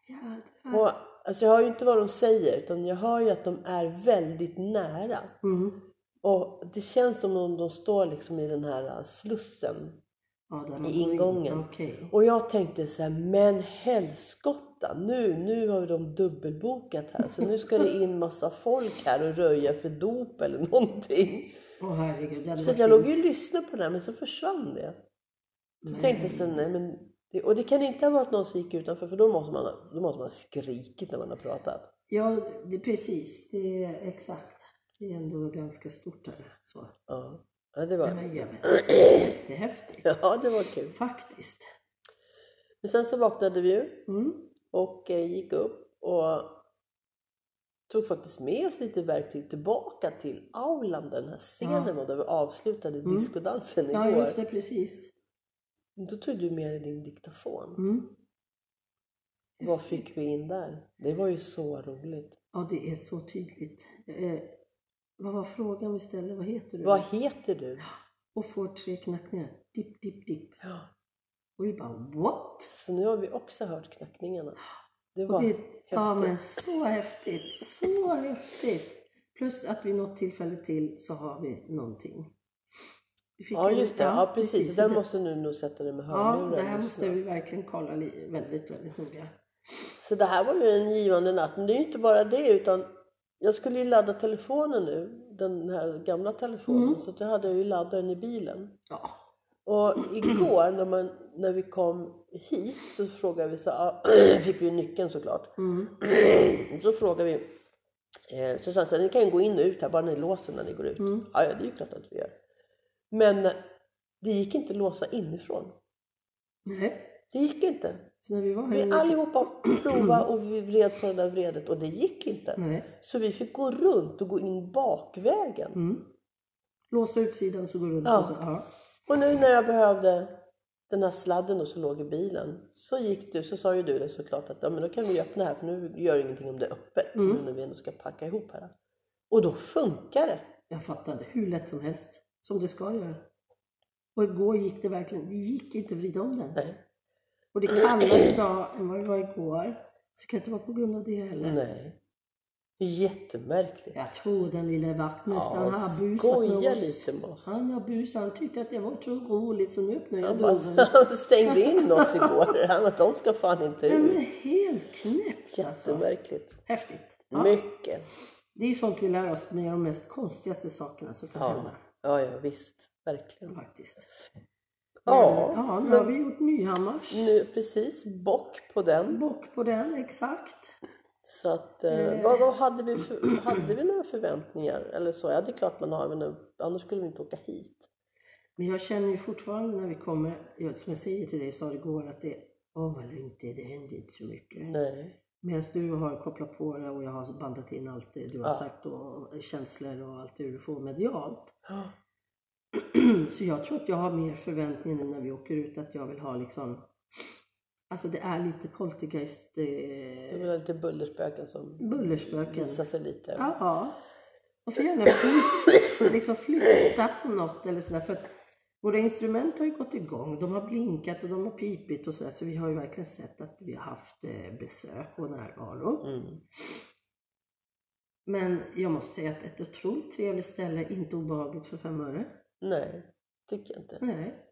Speaker 2: Jädrar.
Speaker 3: Och, alltså jag hör ju inte vad de säger utan jag hör ju att de är väldigt nära.
Speaker 2: Mm.
Speaker 3: Och det känns som om de står liksom i den här eh, slussen
Speaker 2: Ja, där man
Speaker 3: i
Speaker 2: går in.
Speaker 3: ingången.
Speaker 2: Okej.
Speaker 3: Och jag tänkte så här, men helskotta, nu, nu har de dubbelbokat här så nu ska det in massa folk här och röja för dop eller någonting.
Speaker 2: Åh herregud. det hade
Speaker 3: Så
Speaker 2: varit
Speaker 3: jag låg
Speaker 2: fint.
Speaker 3: ju och lyssnade på det här, men så försvann det. Så
Speaker 2: Nej.
Speaker 3: tänkte jag så här, nej men, det, och det kan inte ha varit någon som gick utanför för då måste man, ha- då måste man ha skrikit när man har pratat.
Speaker 2: Ja, det, precis. Det är exakt. Det är ändå ganska stort här. Så.
Speaker 3: Ja, ja det
Speaker 2: Nej,
Speaker 3: var,
Speaker 2: men jag vet. Det är jättehäftigt.
Speaker 3: ja, det var kul.
Speaker 2: Faktiskt.
Speaker 3: Men sen så vaknade vi ju
Speaker 2: Mm.
Speaker 3: och eh, gick upp och tog faktiskt med oss lite verktyg tillbaka till aulan där den här scenen var där vi avslutade discodansen
Speaker 2: Mm. Ja,
Speaker 3: igår.
Speaker 2: just det. Precis.
Speaker 3: Då tog du med dig din diktafon.
Speaker 2: Mm.
Speaker 3: Vad fick vi in där? Det var ju så roligt.
Speaker 2: Ja, det är så tydligt. Eh, vad var frågan vi ställde? Vad heter du?
Speaker 3: Vad heter du?
Speaker 2: Och får tre knackningar. Dipp, dipp, dipp.
Speaker 3: Ja.
Speaker 2: Och vi bara what?
Speaker 3: Så nu har vi också hört knackningarna. Det var
Speaker 2: Och det,
Speaker 3: häftigt.
Speaker 2: ja, men så häftigt. Så häftigt. Plus att vid något tillfälle till så har vi någonting. Vi fick
Speaker 3: ja
Speaker 2: en-
Speaker 3: just det. Ja, precis.
Speaker 2: Så
Speaker 3: Den
Speaker 2: det-
Speaker 3: måste du nog sätta dig med
Speaker 2: Ja,
Speaker 3: hörlurar
Speaker 2: det
Speaker 3: och
Speaker 2: här
Speaker 3: lyssna.
Speaker 2: måste vi verkligen kolla li- väldigt, väldigt noga.
Speaker 3: Så det här var ju en givande natt. Men det är ju inte bara det utan jag skulle ju ladda telefonen nu, den här gamla telefonen, så att jag hade ju laddaren i bilen.
Speaker 2: Ja.
Speaker 3: Och igår när, man, när vi kom hit så frågade vi, så, ah, fick vi ju nyckeln såklart.
Speaker 2: mm,
Speaker 3: så frågade vi eh, Susanne, så här, ni kan ju gå in och ut här bara ni låser när ni går ut.
Speaker 2: Mm.
Speaker 3: Ja, ja, det är ju klart att vi gör. Men det gick inte att låsa inifrån.
Speaker 2: Nej.
Speaker 3: Det gick inte.
Speaker 2: Så när vi var här
Speaker 3: Vi
Speaker 1: Mm.
Speaker 2: inne-
Speaker 3: allihopa provade och vi vred på det där vredet och det gick inte.
Speaker 2: Nej.
Speaker 3: Så vi fick gå runt och gå in bakvägen.
Speaker 2: Mm. Låsa utsidan så går det runt.
Speaker 3: Ja.
Speaker 2: Och så, ja.
Speaker 3: Och nu när jag behövde den här sladden och så låg i bilen så gick du, så sa ju du det såklart att ja, men då kan vi öppna här för nu gör det ingenting om det är öppet
Speaker 2: Mm.
Speaker 3: nu när vi ändå ska packa ihop här. Och då funkar det.
Speaker 2: Jag fattade hur lätt som helst. som det ska göra. Och igår gick det verkligen, det gick inte att vrida om den.
Speaker 3: Nej.
Speaker 2: Och det är kallare idag än vad det var igår. Så det kan inte vara på grund av det heller.
Speaker 3: Nej. Jättemärkligt.
Speaker 2: Jag tror den lille vaktmästaren
Speaker 3: Ja,
Speaker 2: han har busat med
Speaker 3: skoja
Speaker 2: oss.
Speaker 3: lite med oss.
Speaker 2: Han har busat, han tyckte att det var så roligt så nu öppnar jag
Speaker 3: Han
Speaker 2: dörren.
Speaker 3: bara- han stängde in oss igår. Han att de ska fan inte
Speaker 2: Nej, men
Speaker 3: ut.
Speaker 2: helt knäppt alltså.
Speaker 3: Jättemärkligt.
Speaker 2: Häftigt. Ja.
Speaker 3: Mycket.
Speaker 2: Det är ju sånt vi lär oss med de mest konstigaste sakerna som kan
Speaker 3: Ja.
Speaker 2: hända.
Speaker 3: ja, ja visst. Verkligen.
Speaker 2: Faktiskt.
Speaker 3: Ja,
Speaker 2: ja, nu har
Speaker 3: men
Speaker 2: vi gjort Nyhammars.
Speaker 3: nu precis bock på den.
Speaker 2: Bock på den, exakt.
Speaker 3: Så att,
Speaker 2: Mm.
Speaker 3: eh, vad, vad hade, vi för, hade vi några förväntningar? Eller så? Ja, det är klart man har. Men annars skulle vi inte åka hit.
Speaker 2: Men jag känner ju fortfarande när vi kommer, ja, som jag säger till dig, jag sa det igår, att det, åh vad lugnt det är, det händer inte så mycket.
Speaker 3: Nej.
Speaker 2: Medan du har kopplat på det och jag har bandat in allt det du har
Speaker 3: Ja.
Speaker 2: sagt och eh, känslor och allt det du får medialt. Så jag tror att jag har mer förväntningar nu när vi åker ut att jag vill ha liksom, alltså det är lite poltergeist,
Speaker 3: Det
Speaker 2: eh,
Speaker 3: var lite bullerspöken som
Speaker 2: bullerspöken.
Speaker 3: visade sig lite.
Speaker 2: Mm. Ja, ja. Och får gärna fly- liksom flytta på något eller sådär. För att våra instrument har ju gått igång. De har blinkat och de har pipit och sådär. Så vi har ju verkligen sett att vi har haft eh, besök och närvaro.
Speaker 3: Mm.
Speaker 2: Men jag måste säga att ett otroligt trevligt ställe, inte obehagligt för fem öre.
Speaker 3: Nej, tycker jag inte.
Speaker 2: Nej.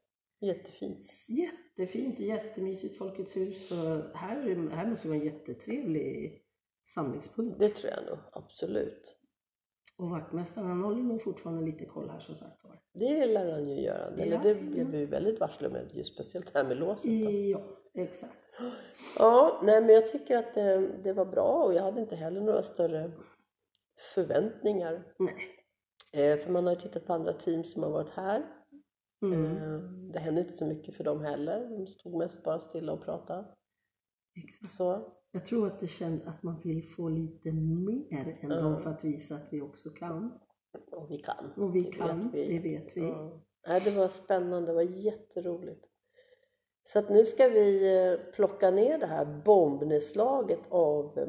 Speaker 3: Jättefint.
Speaker 2: Jättefint och jättemysigt Folkets hus. Och här, här måste det vara en jättetrevlig samlingspunkt.
Speaker 3: Det tror jag nog, absolut.
Speaker 2: Och vaktmästaren han håller nog fortfarande lite koll här som sagt var.
Speaker 3: Det lär han ju göra. Eller
Speaker 2: Ja, Mm.
Speaker 3: det
Speaker 2: ja.
Speaker 3: blev vi väldigt varsel om, ju speciellt det här med låset. Då.
Speaker 2: Ja, exakt.
Speaker 3: Ja, nej men jag tycker att det, det var bra och jag hade inte heller några större förväntningar.
Speaker 2: Nej.
Speaker 3: Eh, för man har ju tittat på andra team som har varit här.
Speaker 2: Mm.
Speaker 3: Eh, det hände inte så mycket för dem heller. De stod mest bara stilla och pratade.
Speaker 2: Exakt.
Speaker 3: Så,
Speaker 2: Jag tror att det känns att man vill få lite mer än
Speaker 3: Ja.
Speaker 2: dem för att visa att vi också kan.
Speaker 3: och vi kan.
Speaker 2: Och vi
Speaker 3: Det
Speaker 2: kan,
Speaker 3: vet vi. Mm.
Speaker 2: det vet vi.
Speaker 3: Ja. Nej, det var spännande, det var jätteroligt. Så att nu ska vi eh, plocka ner det här bombnedslaget av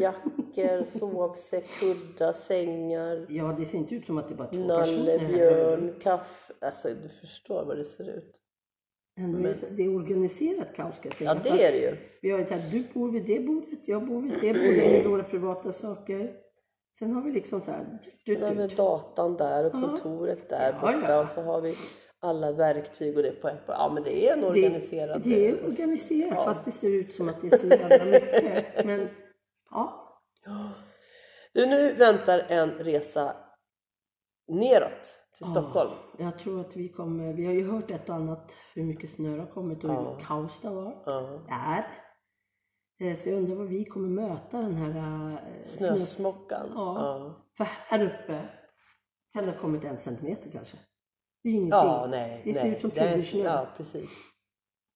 Speaker 3: jackor, sovsäck, kuddar, sängar,
Speaker 2: Ja, det ser inte ut som att det är bara två personer här.
Speaker 3: nallebjörn, kaffe. Alltså du förstår vad det ser ut.
Speaker 2: Ändå är det så- Det är organiserat kaos ska jag säga.
Speaker 3: Ja,
Speaker 2: För
Speaker 3: det
Speaker 2: att
Speaker 3: är det ju.
Speaker 2: Vi har ju tagit, du bor vid det bordet, jag bor vid det bordet med våra privata saker. Sen har vi liksom så här... Du,
Speaker 3: Den här
Speaker 2: du,
Speaker 3: med
Speaker 2: du.
Speaker 3: datan där och
Speaker 2: Ja.
Speaker 3: kontoret där
Speaker 2: Ja,
Speaker 3: borta
Speaker 2: ja.
Speaker 3: och så har vi alla verktyg och det på ett. Ja, men det är en organiserad...
Speaker 2: Det, det är organiserat
Speaker 3: Ja.
Speaker 2: fast det ser ut som att det är så jävla mycket. Men ja,
Speaker 3: Du, nu väntar en resa neråt till Stockholm.
Speaker 2: Ja, jag tror att vi kommer, vi har ju hört ett och annat hur mycket snö det har kommit och hur
Speaker 3: Ja.
Speaker 2: kaos det var.
Speaker 3: Ja.
Speaker 2: Där. Eh, Så jag undrar vad vi kommer möta den här eh, snös-
Speaker 3: Snösmockan.
Speaker 2: Ja.
Speaker 3: Ja.
Speaker 2: För här uppe kan det ha kommit en centimeter kanske. Det är ingenting.
Speaker 3: ja, nej.
Speaker 2: det ser
Speaker 3: nej.
Speaker 2: ut som
Speaker 3: är-
Speaker 2: pudersnö.
Speaker 3: Ja, precis.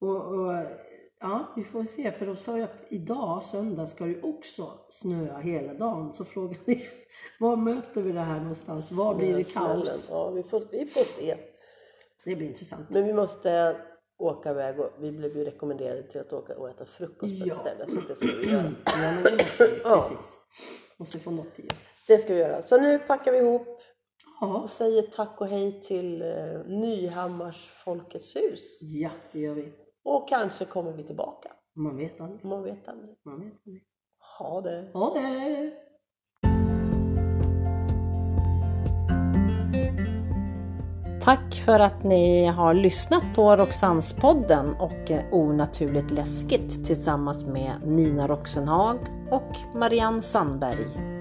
Speaker 2: Och, och, ja, vi får se. För de sa ju att idag, söndag, ska det ju också snöa hela dagen. Så frågan är, var möter vi det här någonstans? Var blir det kaos?
Speaker 3: Snösmällen. Ja, vi får, vi får se.
Speaker 2: Det blir intressant.
Speaker 3: Men vi måste åka iväg och vi blev ju rekommenderade till att åka och äta frukost på ett
Speaker 2: Ja.
Speaker 3: ställe. Så det ska vi göra.
Speaker 2: Ja, men det måste vi.
Speaker 3: Ja.
Speaker 2: Precis. Måste få något i oss.
Speaker 3: Det ska vi göra. Så nu packar vi ihop
Speaker 2: Ja.
Speaker 3: och säger tack och hej till eh, Nyhammars Folkets hus.
Speaker 2: Ja, det gör vi.
Speaker 3: Och kanske kommer vi tillbaka.
Speaker 2: Man vet aldrig.
Speaker 3: Man vet aldrig.
Speaker 2: Man vet aldrig.
Speaker 3: Ha det!
Speaker 2: Ha det!
Speaker 1: Tack för att ni har lyssnat på Roxannespodden och eh, Onaturligt läskigt tillsammans med Nina Roxenhag och Marianne Sandberg.